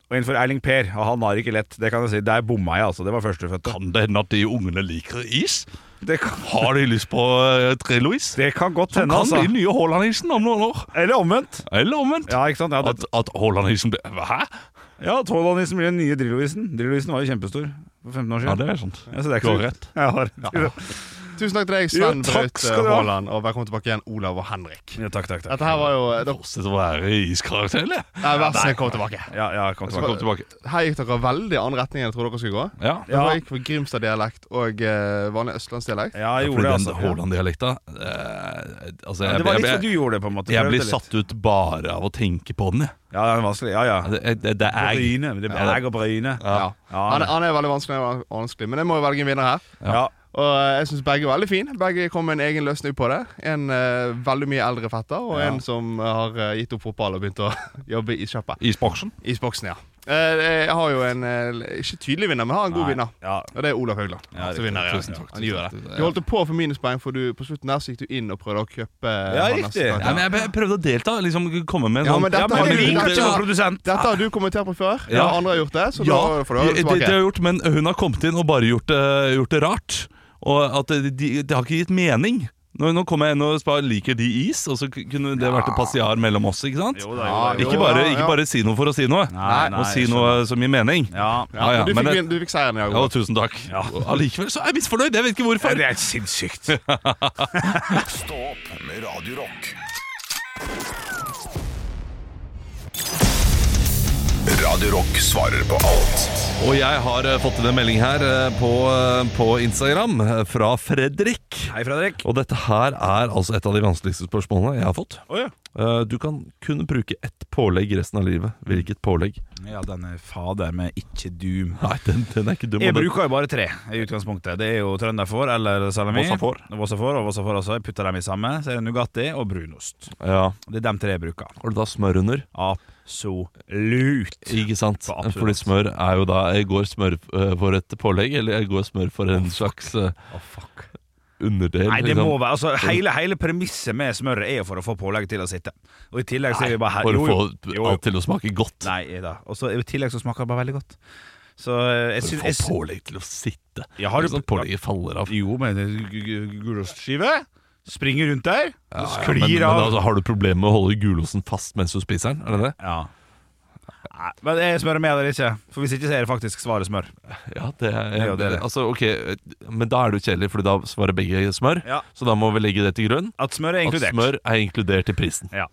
Speaker 2: Og en for Erling Per. Og han har ikke lett, det kan jeg si. Der bomma jeg, altså. Det var førstefødte.
Speaker 3: Kan det hende at de ungene liker is?
Speaker 2: Det kan,
Speaker 3: Har de lyst på uh, Tre-Louis?
Speaker 2: det kan godt
Speaker 3: Som
Speaker 2: hende,
Speaker 3: kan
Speaker 2: altså.
Speaker 3: bli den nye Haaland-hilsen om noen år.
Speaker 2: Eller omvendt.
Speaker 3: Eller omvendt.
Speaker 2: Ja, ikke sant? Ja, det,
Speaker 3: At, at Haaland-hilsen blir Hæ?
Speaker 2: ja Tolvanisen blir den nye Drillo-isen. Drillo-isen var jo kjempestor for 15 år
Speaker 3: Ja,
Speaker 2: siden.
Speaker 3: det er sant.
Speaker 2: Ja, så det er
Speaker 3: Du
Speaker 2: ikke
Speaker 3: har
Speaker 2: så-
Speaker 3: rett.
Speaker 2: Jeg har rett.
Speaker 6: Tusen takk til deg,
Speaker 2: Jo,
Speaker 6: Sven
Speaker 2: takk
Speaker 6: Braut eh,
Speaker 2: skal du ha.
Speaker 6: Haaland, og velkommen tilbake igjen, Olav og Henrik.
Speaker 2: Ja, takk, takk, takk.
Speaker 6: Dette her var jo eh, dere-
Speaker 3: Fortsett å være iskarakter, eller?
Speaker 6: Nei, vær så snill, kom tilbake.
Speaker 2: Ja, ja, kom
Speaker 3: Så kom
Speaker 2: tilbake.
Speaker 3: tilbake.
Speaker 6: Her gikk dere veldig i annen retning enn jeg trodde dere skulle gå.
Speaker 3: Ja.
Speaker 2: Ja.
Speaker 6: Dere gikk for Grimstad-dialekt og eh, vanlig østlandsdialekt.
Speaker 2: Ja, jeg
Speaker 3: Fordi
Speaker 2: gjorde det,
Speaker 3: den
Speaker 2: altså.
Speaker 3: Haaland-dialekta eh, altså,
Speaker 2: Ja,
Speaker 3: jeg,
Speaker 2: det var
Speaker 3: jeg,
Speaker 2: litt så
Speaker 3: jeg,
Speaker 2: du gjorde det, på en måte.
Speaker 3: jeg
Speaker 2: Prøvde
Speaker 3: blir
Speaker 2: litt.
Speaker 3: satt ut bare av å tenke på den, jeg.
Speaker 2: Ja, det er vanskelig. Ja, ja.
Speaker 3: Ja, Det, det, det er jeg.
Speaker 2: Bryne. Det er jeg og Bryne.
Speaker 6: Ja.
Speaker 2: Ja.
Speaker 6: Han, er- han er veldig vanskelig, han er vanskelig, men jeg må jo velge en vinner her.
Speaker 2: Ja.
Speaker 6: Og eh, jeg syns begge er veldig fine. Begge kom med en egen løsning på det. En eh, veldig mye eldre fetter, og
Speaker 2: Ja.
Speaker 6: en som har eh, gitt opp fotball og begynt å jobbe i sjappa.
Speaker 3: Isboksen.
Speaker 6: Isboksen, ja. Eh, jeg har jo en eh, ikke tydelig vinner, men jeg har en god vinner.
Speaker 2: Ja.
Speaker 6: Og det er Olav Haugland.
Speaker 2: Ja,
Speaker 6: som vinner, ja.
Speaker 3: Tusen takk.
Speaker 6: Han gjør det.
Speaker 3: Ja.
Speaker 6: Du holdt på for minuspoeng, for du, på slutten der så gikk du inn og prøvde å kjøpe eh,
Speaker 2: Ja,
Speaker 6: hans
Speaker 2: riktig.
Speaker 6: karakter.
Speaker 3: Ja, men jeg prøvde å delta. Liksom komme med en
Speaker 6: Ja,
Speaker 3: sånn
Speaker 6: men dette
Speaker 2: Ja, men
Speaker 6: har
Speaker 2: det
Speaker 6: du-
Speaker 2: liker
Speaker 6: dette
Speaker 2: ikke som
Speaker 6: har-
Speaker 2: produsent.
Speaker 6: Dette har du kommentert på før.
Speaker 3: Ja.
Speaker 6: Ja. Andre har gjort det, så
Speaker 3: ja,
Speaker 6: da får du høre det
Speaker 3: det, det har
Speaker 6: tilbake.
Speaker 3: jeg gjort, men hun har kommet inn og bare gjort, det- gjort det rart. Og at det, de, det har ikke gitt mening. Nå, nå kommer jeg inn og spør liker de is, og så kunne det vært et passiar mellom oss. Ikke sant?
Speaker 2: Jo da, jo da.
Speaker 6: Ja,
Speaker 2: Jo.
Speaker 3: Ikke bare,
Speaker 6: ja, ja.
Speaker 3: ikke bare si noe for å si noe.
Speaker 2: Nei,
Speaker 3: og
Speaker 2: nei,
Speaker 3: si
Speaker 2: jeg
Speaker 3: noe som gir mening.
Speaker 2: Ja.
Speaker 6: Ja,
Speaker 3: Ja, ja,
Speaker 6: men du,
Speaker 3: men
Speaker 6: fikk,
Speaker 3: det-
Speaker 6: vin- du fikk seieren, ja.
Speaker 3: Ja,
Speaker 6: Olav.
Speaker 3: tusen takk.
Speaker 2: Ja.
Speaker 3: Og Allikevel så er jeg misfornøyd. Jeg vet ikke
Speaker 2: Ja,
Speaker 3: hvorfor.
Speaker 2: Det er sinnssykt.
Speaker 1: Stå opp med Radio Rock. Radio Rock svarer på alt.
Speaker 3: Og jeg har eh, fått inn en melding her eh, på, eh, på Instagram eh, fra Fredrik.
Speaker 2: Hei, Fredrik.
Speaker 3: Og dette her er altså et av de vanskeligste spørsmålene jeg har fått.
Speaker 2: Å ja.
Speaker 3: Eh, Du kan kun bruke ett pålegg resten av livet. Hvilket pålegg?
Speaker 2: Ja, denne fader med ikke doom.
Speaker 3: Nei, den, den er ikke dum.
Speaker 2: Jeg
Speaker 3: og den-
Speaker 2: bruker jo bare tre i utgangspunktet. Det er jo trønderfår eller salami.
Speaker 3: Vossafår.
Speaker 2: Vossafår og Vossafår også. Jeg putter dem i samme. Så er det Nugatti og brunost.
Speaker 3: Ja,
Speaker 2: Det er dem tre jeg bruker.
Speaker 3: Har du da smør under?
Speaker 2: Absolutt.
Speaker 3: Ikke sant?
Speaker 2: Ja, absolutt.
Speaker 3: Fordi smør er jo da Jeg går smør eh, for et pålegg, eller jeg går smør for en slags eh, underdel.
Speaker 2: Nei, det
Speaker 3: liksom.
Speaker 2: må være altså, hele, hele premisset med smøret er jo for å få pålegget til å sitte. Og i tillegg så er vi bare her
Speaker 3: For
Speaker 2: jo,
Speaker 3: å
Speaker 2: jo.
Speaker 3: få alt til å smake godt.
Speaker 2: Nei da. Og så i tillegg så smaker det bare veldig godt. Så eh, jeg
Speaker 3: For
Speaker 2: syns jeg
Speaker 3: å få
Speaker 2: syns-
Speaker 3: pålegg til å sitte.
Speaker 2: Ja, har du-
Speaker 3: sånn pålegget faller av.
Speaker 2: Jo, men gu- gu- gulostskive Springer rundt der,
Speaker 3: Ja, ja,
Speaker 2: sklir
Speaker 3: men, men
Speaker 2: av.
Speaker 3: altså, har du problemer med å holde gulosten fast mens du spiser den? Er det det?
Speaker 2: Ja. Nei, men jeg smører med eller ikke. For hvis ikke så er det faktisk svaret smør.
Speaker 3: Ja, det er,
Speaker 2: Ja, det er det.
Speaker 3: Altså, ok, Men da er det jo kjedelig, Fordi da svarer begge smør.
Speaker 2: Ja.
Speaker 3: Så da må vi legge det til grunn.
Speaker 2: At smør er inkludert.
Speaker 3: At smør er inkludert i prisen.
Speaker 2: Ja.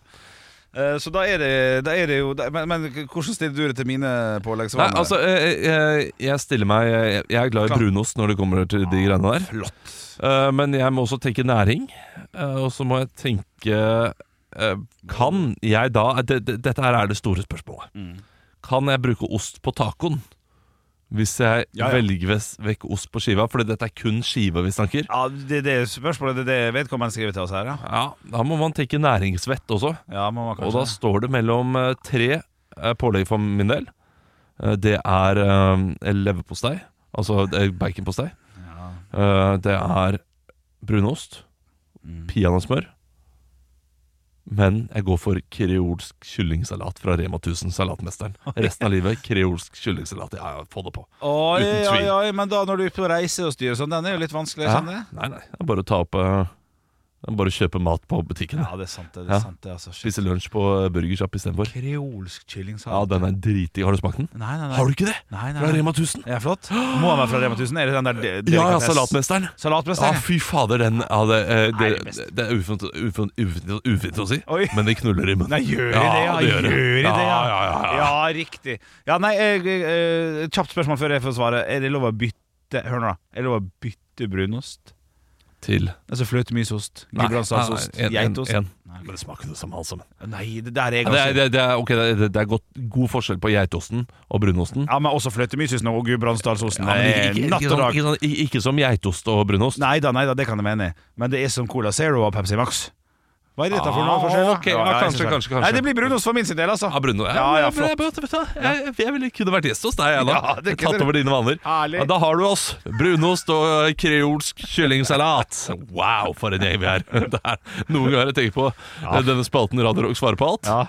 Speaker 2: Eh, Så da er det, da er det jo da, men, men hvordan stiller du det til mine
Speaker 3: Nei,
Speaker 2: påleggsvaner?
Speaker 3: altså, eh, eh, jeg stiller meg Jeg jeg er glad i
Speaker 2: Sånn Klar. Ah,
Speaker 3: brunost når det kommer til de greiene der.
Speaker 2: Flott.
Speaker 3: Eh, Men jeg må også tenke næring. eh, Og så må jeg tenke eh, Kan jeg da det, det, Dette her er det store spørsmålet.
Speaker 2: Mm.
Speaker 3: Kan jeg bruke ost på tacoen? Hvis jeg
Speaker 2: Ja, ja.
Speaker 3: velger ves- vekk ost på skiva, Fordi dette er kun skiva vi snakker.
Speaker 2: Ja, det, det er spørsmålet det, er det vedkommende skriver til oss her, ja.
Speaker 3: Ja, Da må man tenke næringsvett også.
Speaker 2: ja må man
Speaker 3: Og
Speaker 2: kanskje-
Speaker 3: da står det mellom eh, tre eh, pålegg for min del. Eh, Det er eh, leverpostei, altså det er baconpostei. Eh, Det er brunost,
Speaker 2: Mm.
Speaker 3: peanøttsmør. Men jeg går for kreolsk kyllingsalat fra Rema 1000, salatmesteren. Resten av livet kreolsk kyllingsalat. Ja, ja, få det på.
Speaker 2: Oi,
Speaker 3: Uten tvil.
Speaker 2: oi, oi, men da når du er på reise og styrer sånn, den er jo litt vanskelig.
Speaker 3: Ja.
Speaker 2: sånn det?
Speaker 3: Nei, nei. Det er bare å ta opp eh, det er Bare å kjøpe mat på butikken.
Speaker 2: Ja, det er sant det. det,
Speaker 3: Ja.
Speaker 2: er sant, det altså. Shit.
Speaker 3: Spise lunsj på eh, burgersjapp istedenfor.
Speaker 2: Kreolsk kyllingsalat.
Speaker 3: Ja, den er dritig. Har du smakt den?
Speaker 2: Nei, nei, nei.
Speaker 3: Har du ikke det?
Speaker 2: Nei, nei,
Speaker 3: Fra
Speaker 2: nei.
Speaker 3: Rema 1000?
Speaker 2: Ja, flott. Må han være fra Rema 1000? Er det den der de
Speaker 3: Ja, ja,
Speaker 2: delikatesse-
Speaker 3: salatmesteren. Ja,
Speaker 2: Salatmesteren, ja.
Speaker 3: fy fader, den ja, det, eh,
Speaker 2: Nei, det er
Speaker 3: det,
Speaker 2: best.
Speaker 3: det er ufint, ufint, ufint, ufint å si,
Speaker 2: Oi.
Speaker 3: men det knuller i munnen.
Speaker 2: Nei, gjør de det, ja? gjør de det, ja.
Speaker 3: Ja, ja, ja, ja.
Speaker 2: Ja, riktig. Ja, nei, jeg, jeg, eh, kjapt spørsmål før jeg får svaret. Er det lov å bytte Hør nå, da. Er det lov å bytte brunost?
Speaker 3: Til
Speaker 2: Altså fløtemysost,
Speaker 3: Nei,
Speaker 2: gudbrandsdalsost,
Speaker 3: nei, nei, en- en-
Speaker 2: geitost
Speaker 3: en. Men det smaker jo det samme, alt
Speaker 2: altså,
Speaker 3: sammen.
Speaker 2: Nei, det der er jeg
Speaker 3: Ja, det, er,
Speaker 2: ganske
Speaker 3: det, er- det, er, ok, det er, det er godt, god forskjell på geitosten og brunosten.
Speaker 2: Ja, men også fløtemysosten og gudbrandsdalsosten.
Speaker 3: Ja, men
Speaker 2: er
Speaker 3: ikke, ikke,
Speaker 2: natt
Speaker 3: ikke,
Speaker 2: og
Speaker 3: sånn,
Speaker 2: dag.
Speaker 3: ikke, sånn, ikke, ikke som geitost og brunost.
Speaker 2: Nei da, nei da, det kan jeg mene. Men det er som Cola Zero og Pepsi Max. Hva er dette for noe forskjell? da?
Speaker 3: Ah, ok, ja,
Speaker 2: jeg
Speaker 3: kanskje,
Speaker 2: synes det.
Speaker 3: kanskje, kanskje.
Speaker 2: Nei, det blir brunost for min sin del, altså.
Speaker 3: Ja, Bruno.
Speaker 2: Ja,
Speaker 3: Ja,
Speaker 2: ja,
Speaker 3: men jeg, jeg, vet du hva, jeg, jeg, jeg ville kunne vært gjest hos deg, jeg, da.
Speaker 2: Ja, det kunne
Speaker 3: Tatt
Speaker 2: du.
Speaker 3: over dine vaner.
Speaker 2: Herlig.
Speaker 3: Ja, da har du oss. Brunost og eh, kreolsk kyllingsalat. Wow, for en gjeng vi er. Det er noen ganger jeg tenker på eh, denne spalten Radio Rock svarer på alt.
Speaker 2: Ja.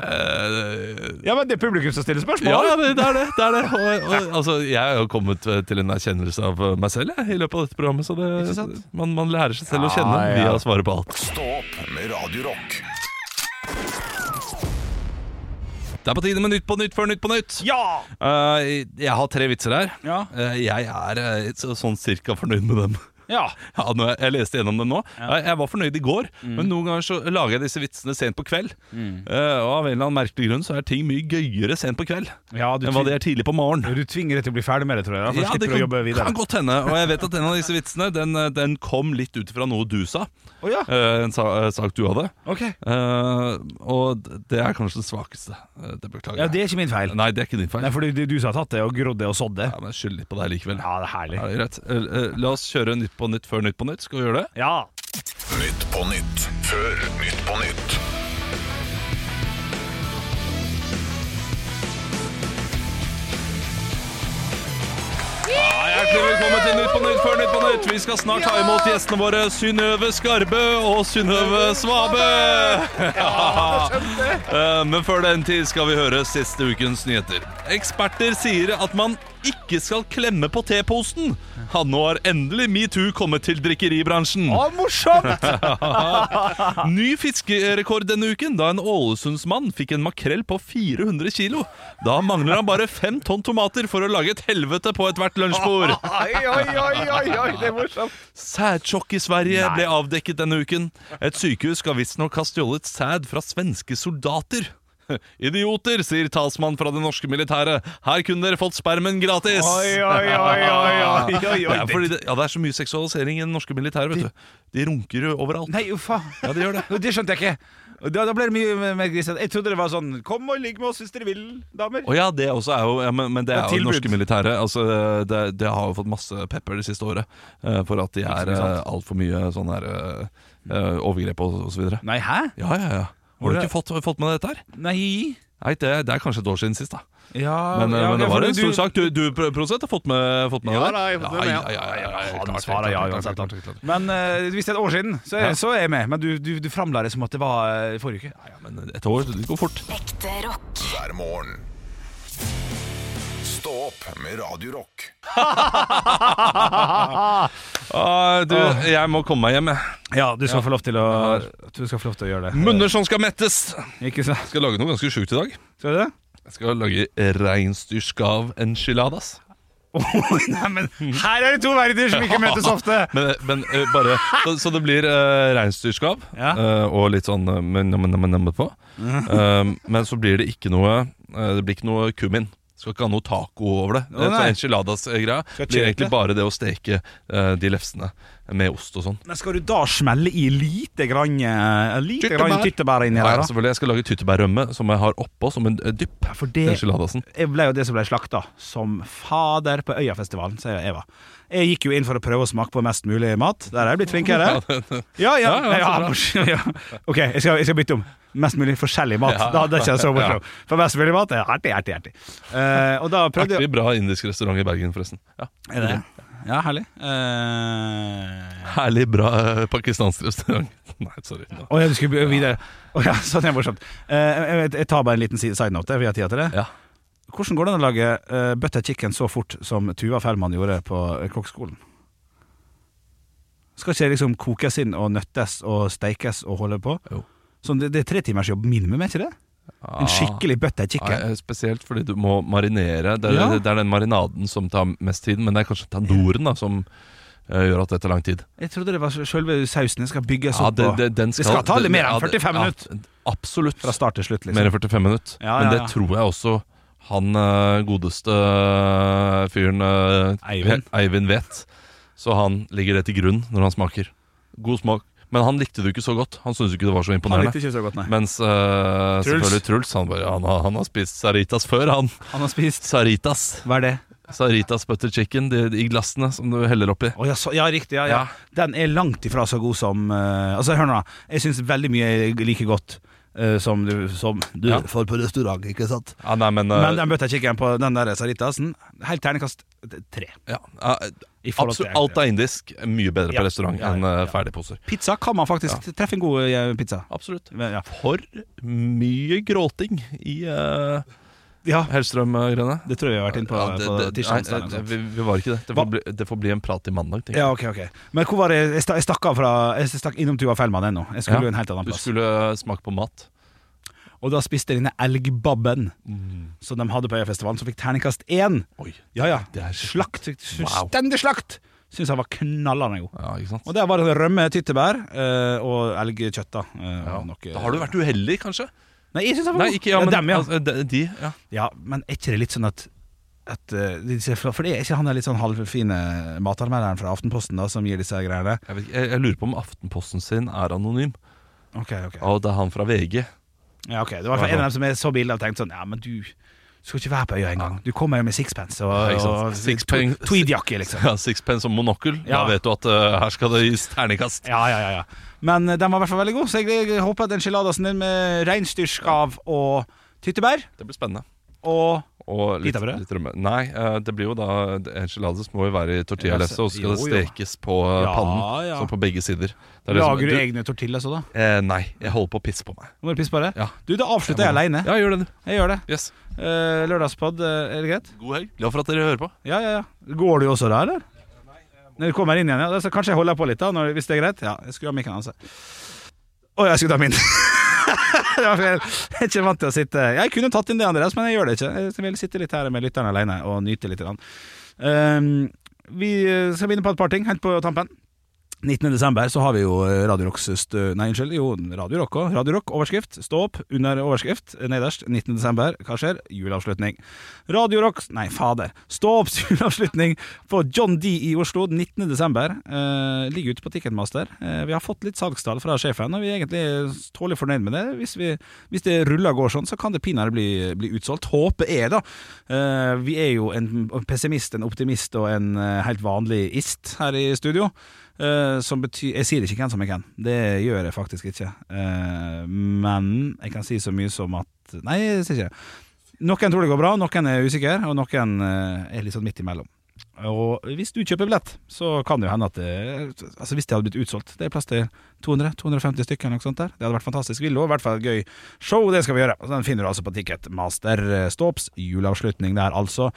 Speaker 3: eh,
Speaker 2: Ja, men det er publikum som stiller spørsmål.
Speaker 3: Ja, ja, det, det er det. det, er det. Og, og, altså, jeg har jo kommet eh, til en erkjennelse av eh, meg selv jeg, i løpet av dette programmet. Så det, man, man lærer seg selv å kjenne
Speaker 2: Ja, ja.
Speaker 3: via å svare på alt.
Speaker 1: Stå opp med Radio Rock.
Speaker 3: Det er på tide med Nytt på nytt før Nytt på nytt.
Speaker 2: Ja!
Speaker 3: Eh, jeg har tre vitser her.
Speaker 2: Ja.
Speaker 3: Eh, jeg er eh, så, sånn cirka fornøyd med dem.
Speaker 2: Ja.
Speaker 3: Ja, nå, jeg leste gjennom dem nå. Jeg, jeg var fornøyd i går,
Speaker 2: Mm.
Speaker 3: men noen ganger så lager jeg disse vitsene sent på kveld. Eh, og av en eller annen merkelig grunn så er ting mye gøyere sent på kveld
Speaker 2: Ja, du
Speaker 3: enn hva
Speaker 2: tving-
Speaker 3: de er tidlig på morgen.
Speaker 2: Du tvinger deg til å bli ferdig med det, tror jeg. da, For å
Speaker 3: det
Speaker 2: slipper å jobbe videre.
Speaker 3: kan godt hende. Og jeg vet at en av disse vitsene Den, eh, den kom litt ut fra noe du sa.
Speaker 2: Å, ja.
Speaker 3: Eh, En sa- eh, sak du hadde.
Speaker 2: Ok.
Speaker 3: Eh, og det er kanskje den svakeste. Eh, Det beklager
Speaker 2: Ja,
Speaker 3: jeg.
Speaker 2: det er ikke min feil.
Speaker 3: Nei, det er ikke din feil.
Speaker 2: Nei, for du, du som har tatt det og grodd det og sådd det.
Speaker 3: Ja, men jeg skylder litt på deg likevel.
Speaker 2: Ja, det er herlig.
Speaker 3: Ja, det er greit. Eh, eh, La oss kjøre Nytt på nytt før Nytt på nytt. Skal vi gjøre det?
Speaker 2: Ja.
Speaker 1: Nytt på nytt før Nytt på nytt.
Speaker 3: Ja, Hjertelig velkommen til Nytt på nytt før Nytt på nytt. Vi skal snart ta imot gjestene våre Synnøve Skarbø og Synnøve Svabø. Eh, Men før den tid skal vi høre siste ukens nyheter. Eksperter sier at man ikke skal klemme på teposen. Ja, nå har endelig metoo kommet til drikkeribransjen.
Speaker 2: Å, morsomt!
Speaker 3: Ny fiskerekord denne uken da en Ålesundsmann fikk en makrell på 400 kilo. Da mangler han bare fem tonn tomater for å lage et helvete på ethvert lunsjbord.
Speaker 2: Oi, oi, oi, oi, oi, det er morsomt.
Speaker 3: Sædsjokk i Sverige ble avdekket denne uken. Et sykehus skal visstnok ha stjålet sæd fra svenske soldater. Idioter, sier talsmann fra det norske militæret. Her kunne dere fått spermen gratis!
Speaker 2: Oi, oi, oi, oi, oi, oi,
Speaker 3: Det
Speaker 2: oi.
Speaker 3: er, fordi det, ja, det er så mye seksualisering i det norske militæret. vet du De runker jo overalt.
Speaker 2: Nei, uff faen.
Speaker 3: Ja, de gjør det.
Speaker 2: Det skjønte jeg ikke. Og Da, da ble det mye mer- mer grisete. Jeg trodde det var sånn Kom og ligg med oss hvis dere vil, damer.
Speaker 3: Å ja, det også er jo ja, men, men det
Speaker 2: Det er
Speaker 3: er jo det
Speaker 2: tilbud.
Speaker 3: norske militæret. Altså, det, det har jo fått masse pepper det siste året eh, for at de er eh, altfor mye sånn her eh, eh, overgrep og osv. Ja,
Speaker 2: Nei, hæ?
Speaker 3: ja, ja. Har du ikke fått, fått med deg dette her?
Speaker 2: Nei.
Speaker 3: Nei, det, det er kanskje et år siden sist, da.
Speaker 2: Ja,
Speaker 3: Men, eh,
Speaker 2: ja, ok,
Speaker 3: men det
Speaker 2: for
Speaker 3: var en
Speaker 2: du-
Speaker 3: stor sak. Du, du pr- produsent, har fått med, fått med
Speaker 6: Ja
Speaker 3: det?
Speaker 6: da, jeg har fått med meg,
Speaker 3: ja, ja,
Speaker 6: ja.
Speaker 3: ja, ja, ja, ja,
Speaker 2: Han
Speaker 3: klart,
Speaker 2: svarer
Speaker 3: klart,
Speaker 2: ja
Speaker 3: klart,
Speaker 2: uansett.
Speaker 3: klart,
Speaker 2: da.
Speaker 3: klart, klart.
Speaker 2: Men eh, hvis det er et år siden, så er,
Speaker 3: Ja.
Speaker 2: så er jeg med. Men du, du, du framla det som at det var eh, i forrige uke.
Speaker 3: Ja, Men et år det går fort.
Speaker 4: Ekte rock.
Speaker 1: Hver morgen. Stå opp med Radio Rock.
Speaker 3: Ah, du, jeg må komme meg hjem, jeg.
Speaker 2: Ja, du skal, Få lov til å, du skal få lov til å gjøre det.
Speaker 3: Munner som skal mettes!
Speaker 2: Ikke sant?
Speaker 3: Jeg skal lage noe ganske sjukt i dag.
Speaker 2: Skal du det?
Speaker 3: Jeg skal lage reinsdyrskav enchiladas.
Speaker 2: Oi, nei, men her er det to verdener som ikke møtes ofte!
Speaker 3: Men, men eh, bare Så, så det blir uh, reinsdyrskav
Speaker 2: Ja.
Speaker 3: eh, og litt sånn eh, men, men, men, men, på. Eh, men så blir det ikke noe eh, Det blir ikke noe kummin. Skal ikke ha noe taco over det.
Speaker 2: Å,
Speaker 3: så
Speaker 2: nei.
Speaker 3: Enchiladas-greia
Speaker 2: Skal
Speaker 3: blir
Speaker 2: chili?
Speaker 3: egentlig bare det å steke eh, de lefsene med ost og sånn.
Speaker 2: Men skal du da smelle i lite grann eh, Lite
Speaker 3: Tyttebær.
Speaker 2: grann tyttebær inni
Speaker 3: Nei,
Speaker 2: der, da?
Speaker 3: selvfølgelig, Jeg skal lage tyttebærrømme som jeg har oppå som en eh, dypp.
Speaker 2: For
Speaker 3: til
Speaker 2: det
Speaker 3: Enchiladasen.
Speaker 2: jeg ble jo det som ble slakta som fader på Øyafestivalen, sier jeg Eva. Jeg gikk jo inn for å prøve å smake på mest mulig mat. Der er jeg blitt flinkere. Ja, ja,
Speaker 3: Ja, ja,
Speaker 2: ja,
Speaker 3: så bra.
Speaker 2: mors- ja. Ok, jeg skal, jeg skal bytte om. Mest mulig forskjellig mat. Da hadde jeg ikke så morsomt. For mest mulig mat er artig, artig, artig. Eh, og da prøvde jeg
Speaker 3: Artig bra indisk restaurant i Bergen, forresten. Ja.
Speaker 2: Er det? Ja, herlig. Eh,
Speaker 3: Herlig bra eh, pakistansk restaurant. Nei, sorry. Ja.
Speaker 2: Å ja, du skulle videre. Å ja, sånn er det morsomt. Eh, jeg, vet- jeg tar bare en liten si- side note. Vi har tid til det.
Speaker 3: Ja.
Speaker 2: Hvordan går det an å lage eh, butter chicken så fort som Tuva Fellmann gjorde på eh, kokkskolen? Skal ikke det liksom kokes inn og nøttes og steikes og holde på?
Speaker 3: Jo.
Speaker 2: Sånn, det, det er tre timers jobb minimum, er ikke det? En skikkelig butter chicken.
Speaker 3: Ah. Nei, spesielt fordi du må marinere. Det er,
Speaker 2: Ja.
Speaker 3: det, det er den marinaden som tar mest tid, men det er kanskje tandoren da, som eh, gjør at det tar lang tid.
Speaker 2: Jeg trodde det var selve sausen den skal bygges
Speaker 3: Ja,
Speaker 2: opp på.
Speaker 3: det- det- den
Speaker 2: det skal ta litt mer
Speaker 3: ja,
Speaker 2: enn
Speaker 3: det-
Speaker 2: 45
Speaker 3: ja,
Speaker 2: minutter
Speaker 3: absolutt.
Speaker 2: fra start til slutt,
Speaker 3: Mer
Speaker 2: liksom.
Speaker 3: enn 45 minutter.
Speaker 2: Ja,
Speaker 3: Men
Speaker 2: ja,
Speaker 3: det
Speaker 2: ja.
Speaker 3: tror jeg også han eh, godeste eh, fyren eh,
Speaker 2: Eivind.
Speaker 3: He- Eivind vet. Så han legger det til grunn når han smaker. God smak. Men han likte det jo ikke så godt. Han syntes jo ikke det var så
Speaker 2: Han
Speaker 3: imponerende.
Speaker 2: likte ikke så godt, nei.
Speaker 3: Mens eh, selvfølgelig Truls han, bare, han, har- han har spist Saritas før, han.
Speaker 2: Han har spist
Speaker 3: Saritas.
Speaker 2: Hva er det?
Speaker 3: Saritas butter chicken de, de, i glassene som du heller oppi.
Speaker 2: Å, ja, så, ja, riktig. Ja, ja.
Speaker 3: Ja.
Speaker 2: Den er langt ifra så god som eh, Altså, hør nå, da. Jeg syns veldig mye er like godt eh, som du, som du
Speaker 3: Ja.
Speaker 2: får på restaurant, ikke sant?
Speaker 3: Ja, nei, men, eh,
Speaker 2: Men den bøttekikkeren på den der saritasen, helt terningkast tre.
Speaker 3: ja, eh,
Speaker 2: I forhold til-
Speaker 3: absolutt, alt er indisk. Mye bedre
Speaker 2: Ja.
Speaker 3: på restaurant
Speaker 2: Ja, ja,
Speaker 3: enn eh,
Speaker 2: ja.
Speaker 3: ferdigposer.
Speaker 2: Pizza kan man faktisk treffe en god eh, pizza.
Speaker 3: Absolutt.
Speaker 2: Men, Ja.
Speaker 3: For mye gråting i uh,
Speaker 2: ja,
Speaker 3: Hellstrøm-greiene.
Speaker 2: det tror jeg vi har vært inne på, eh,
Speaker 3: Ja, det-
Speaker 2: på
Speaker 3: det-
Speaker 2: tirsdag.
Speaker 3: nei, eh,
Speaker 2: onsdag, eller noe sånt.
Speaker 3: Vi, vi var ikke det. Det får,
Speaker 2: Hva-
Speaker 3: bli, det får bli en prat i mandag. tenker jeg.
Speaker 2: Ja, ok, ok Men hvor var det jeg, sta- jeg stakk av fra Jeg stakk innom Tuva Fellmann ennå. Jeg skulle
Speaker 3: Ja.
Speaker 2: jo en helt annen
Speaker 3: Du
Speaker 2: plass.
Speaker 3: skulle eh, smake på mat.
Speaker 2: Og da spiste jeg denne elgbabben
Speaker 3: Mm.
Speaker 2: som de hadde på Øyafestivalen, som fikk terningkast én.
Speaker 3: Oi,
Speaker 2: Ja, ja.
Speaker 3: det er
Speaker 2: Slakt. Fullstendig slakt! Syns han var knallende god.
Speaker 3: Ja, ikke sant?
Speaker 2: Og der var det rømme, tyttebær eh, og elgkjøtt. Da, eh, og noe-
Speaker 3: Da har du vært uheldig, kanskje?
Speaker 2: Nei, jeg syns han var
Speaker 3: Nei,
Speaker 2: god.
Speaker 3: ikke ja, men,
Speaker 2: ja, dem, ja.
Speaker 3: altså, de, de, ja.
Speaker 2: ja, men er ikke det litt sånn at at, eh, disse- for det er ikke han der litt sånn halvfine matanmelderen fra Aftenposten da som gir disse greiene?
Speaker 3: Jeg, vet, ikke, jeg, jeg lurer på om Aftenposten sin er anonym.
Speaker 2: Ok, ok
Speaker 3: Og det er han fra VG.
Speaker 2: Ja, ok. Det var i hvert fall en av dem som jeg så bildet og tenkte sånn Ja, men du skal ikke være på øya engang. Du kommer jo med sixpence og,
Speaker 3: Ja, ikke sant.
Speaker 2: og
Speaker 3: Sixpence-
Speaker 2: tw- tweedjakke, liksom.
Speaker 3: Ja, Sixpence og monokkel.
Speaker 2: Ja.
Speaker 3: Da vet du at eh, her skal det gis terningkast.
Speaker 2: Ja, ja, ja, ja. Men eh, den var i hvert fall veldig god, så jeg, jeg håper at enchiladasen din med reinsdyrskav og tyttebær
Speaker 3: Det blir spennende.
Speaker 2: og
Speaker 3: Og litt,
Speaker 2: Litt av brød?
Speaker 3: litt rømme. Nei, eh, det blir jo da enchiladas må jo være i tortillalefse, og så skal det
Speaker 2: Jo, jo.
Speaker 3: stekes på eh,
Speaker 2: Ja,
Speaker 3: pannen.
Speaker 2: ja.
Speaker 3: Sånn på begge sider. Det er det som-
Speaker 2: Lager du
Speaker 3: du-
Speaker 2: egne tortillas òg, da?
Speaker 3: Eh, nei, jeg holder på å pisse på meg.
Speaker 2: Nå må du pisse på det.
Speaker 3: Ja.
Speaker 2: Du, da avslutter jeg aleine.
Speaker 3: Ja, gjør det, du.
Speaker 2: Jeg gjør det.
Speaker 3: Yes.
Speaker 2: Eh, lørdagspod, eh, er det greit?
Speaker 3: God helg. Glad for at dere hører på.
Speaker 2: Ja, ja, ja. Går du også der, eller? Når du kommer inn igjen, ja. Da- Så kanskje jeg holder på litt, da, når, hvis det er greit? Ja, jeg skulle ha mikken hans. Å, jeg skulle ta min. det var feil. Jeg er ikke vant til å sitte Jeg kunne tatt inn det, Andreas, men jeg gjør det ikke. Jeg vil sitte litt her med lytterne alene og nyte litt. grann. Ehm, vi eh, skal begynne på et par ting, helt på tampen. 19. desember så har vi jo eh, Radio Rocks stø... Nei, unnskyld. Jo, Radio Rock òg. Radio Rock, overskrift. Stå opp under overskrift. eh, Nederst. 19. desember. Hva skjer? Juleavslutning. Radio Rock Nei, fader. Stå opps juleavslutning på John D i Oslo 19. desember. Eh, ligger ute på Ticketmaster. Eh, vi har fått litt salgstall fra sjefen, og vi er egentlig tålelig fornøyd med det. Hvis, vi, hvis det ruller og går sånn, så kan det pinadø bli, bli utsolgt. Håper jeg, da. Eh, vi er jo en pessimist, en optimist og en eh, helt vanlig ist her i studio. Eh, som betyr Jeg sier ikke hvem som er hvem. Det gjør jeg faktisk ikke. Eh, men jeg kan si så mye som at Nei, jeg sier ikke det. Noen tror det går bra, noen er usikre, og noen eh, er litt sånn midt imellom. Og hvis du kjøper billett, så kan det jo hende at det, Altså hvis det hadde blitt utsolgt Det er plass til 200-250 stykker eller noe sånt der. Det hadde vært fantastisk. Ville også vært et gøy show, det skal vi gjøre. Så den finner du altså på Ticketmaster eh, Ståps juleavslutning der, altså.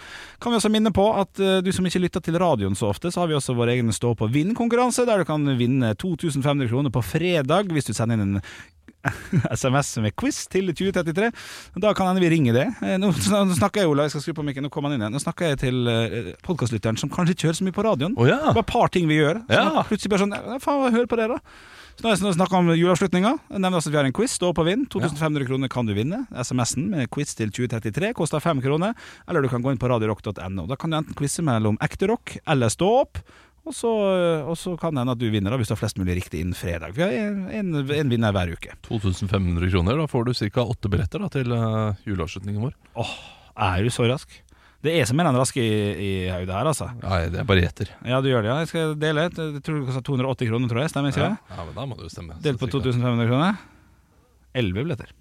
Speaker 2: Kan vi også minne på at eh, du som ikke lytter til radioen så ofte, så har vi også vår egen Stå på vinn-konkurranse, der du kan vinne 2500 kroner på fredag hvis du sender inn en SMS med quiz til 2033. Da kan hende vi ringer det. Eh, Nå sn- nå snakker jeg Ola, jeg skal skru på mikken, nå kommer han inn igjen. Nå snakker jeg til eh, podcastlytteren som kanskje ikke hører så mye på radioen.
Speaker 3: Å ja.
Speaker 2: Det var et par ting vi gjør. Så
Speaker 3: Ja.
Speaker 2: nå plutselig bare sånn ja, Faen, hør på det, sånn da. Så nå har jeg snakka om juleavslutninga. Jeg nevner også at vi har en quiz. Stå opp og vinn. 2500 kroner kan du vinne. SMS-en med quiz til 2033 koster 5 kroner. Eller du kan gå inn på radiorock.no. Da kan du enten quize mellom ekte rock eller stå opp. Og så, og så kan det hende at du vinner da hvis du har flest mulig riktig innen fredag. Vi har en, en, en vinner hver uke.
Speaker 3: 2500 kroner. Da får du ca. åtte billetter da, til eh, juleavslutningen vår.
Speaker 2: Er du så rask? Det er som en eller annen rask i, i hodet her, altså.
Speaker 3: Nei, det er bare gjetter.
Speaker 2: Ja, du gjør det, ja. Jeg skal dele et. Jeg tror det koster 280 kroner, tror jeg. Stemmer ikke det?
Speaker 3: Ja, men da må det jo stemme.
Speaker 2: Delt på 2500 kroner. 11 billetter.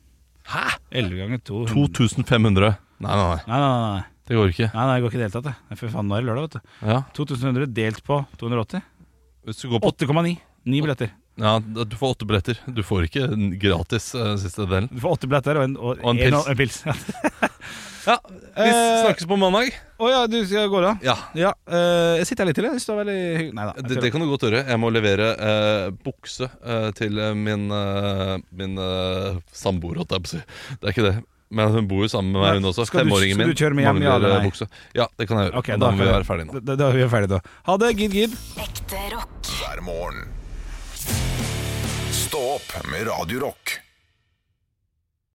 Speaker 3: Hæ?
Speaker 2: 11 ganger 200
Speaker 3: 2500. Nei, nei, nei.
Speaker 2: Nei, nei, nei. nei.
Speaker 3: Det går ikke.
Speaker 2: Nei, nei, det går ikke deltatt, det. Nei, Fy faen, nå er det lørdag, vet du.
Speaker 3: Ja.
Speaker 2: 2500 delt på 280.
Speaker 3: Hvis du går på
Speaker 2: 8,9. Ni billetter.
Speaker 3: Ja, da- du får åtte billetter. Du får ikke den gratis eh, siste delen.
Speaker 2: Du får åtte billetter og en, og
Speaker 3: Og en
Speaker 2: en,
Speaker 3: pils.
Speaker 2: og en pils. Ja.
Speaker 3: Ja,
Speaker 2: vi snakkes
Speaker 3: på mandag.
Speaker 2: Å ja, du skal gå, da?
Speaker 3: Ja,
Speaker 2: Ja. eh, jeg sitter her litt til, jeg. Jeg synes det var veldig hyggelig. Nei da. jeg
Speaker 3: det, det
Speaker 2: tuller.
Speaker 3: kan du godt gjøre. Jeg må levere eh, bukse eh, til eh, min, eh, min eh, samboer, holdt jeg på å si. Det er ikke det. Men hun bor jo sammen med meg, hun også.
Speaker 2: Skal du-
Speaker 3: Femåringen
Speaker 2: skal
Speaker 3: min.
Speaker 2: du kjøre med hjem, ja
Speaker 3: mangler,
Speaker 2: eller
Speaker 3: eh,
Speaker 2: nei?
Speaker 3: bukse. Ja, det kan jeg gjøre.
Speaker 2: Ok,
Speaker 3: Og da, må vi
Speaker 2: kan-
Speaker 3: være ferdige nå.
Speaker 2: Da, da er vi ferdige, da. Ha det. Gid, gid.
Speaker 1: hver morgen. Stå opp med Radio Rock.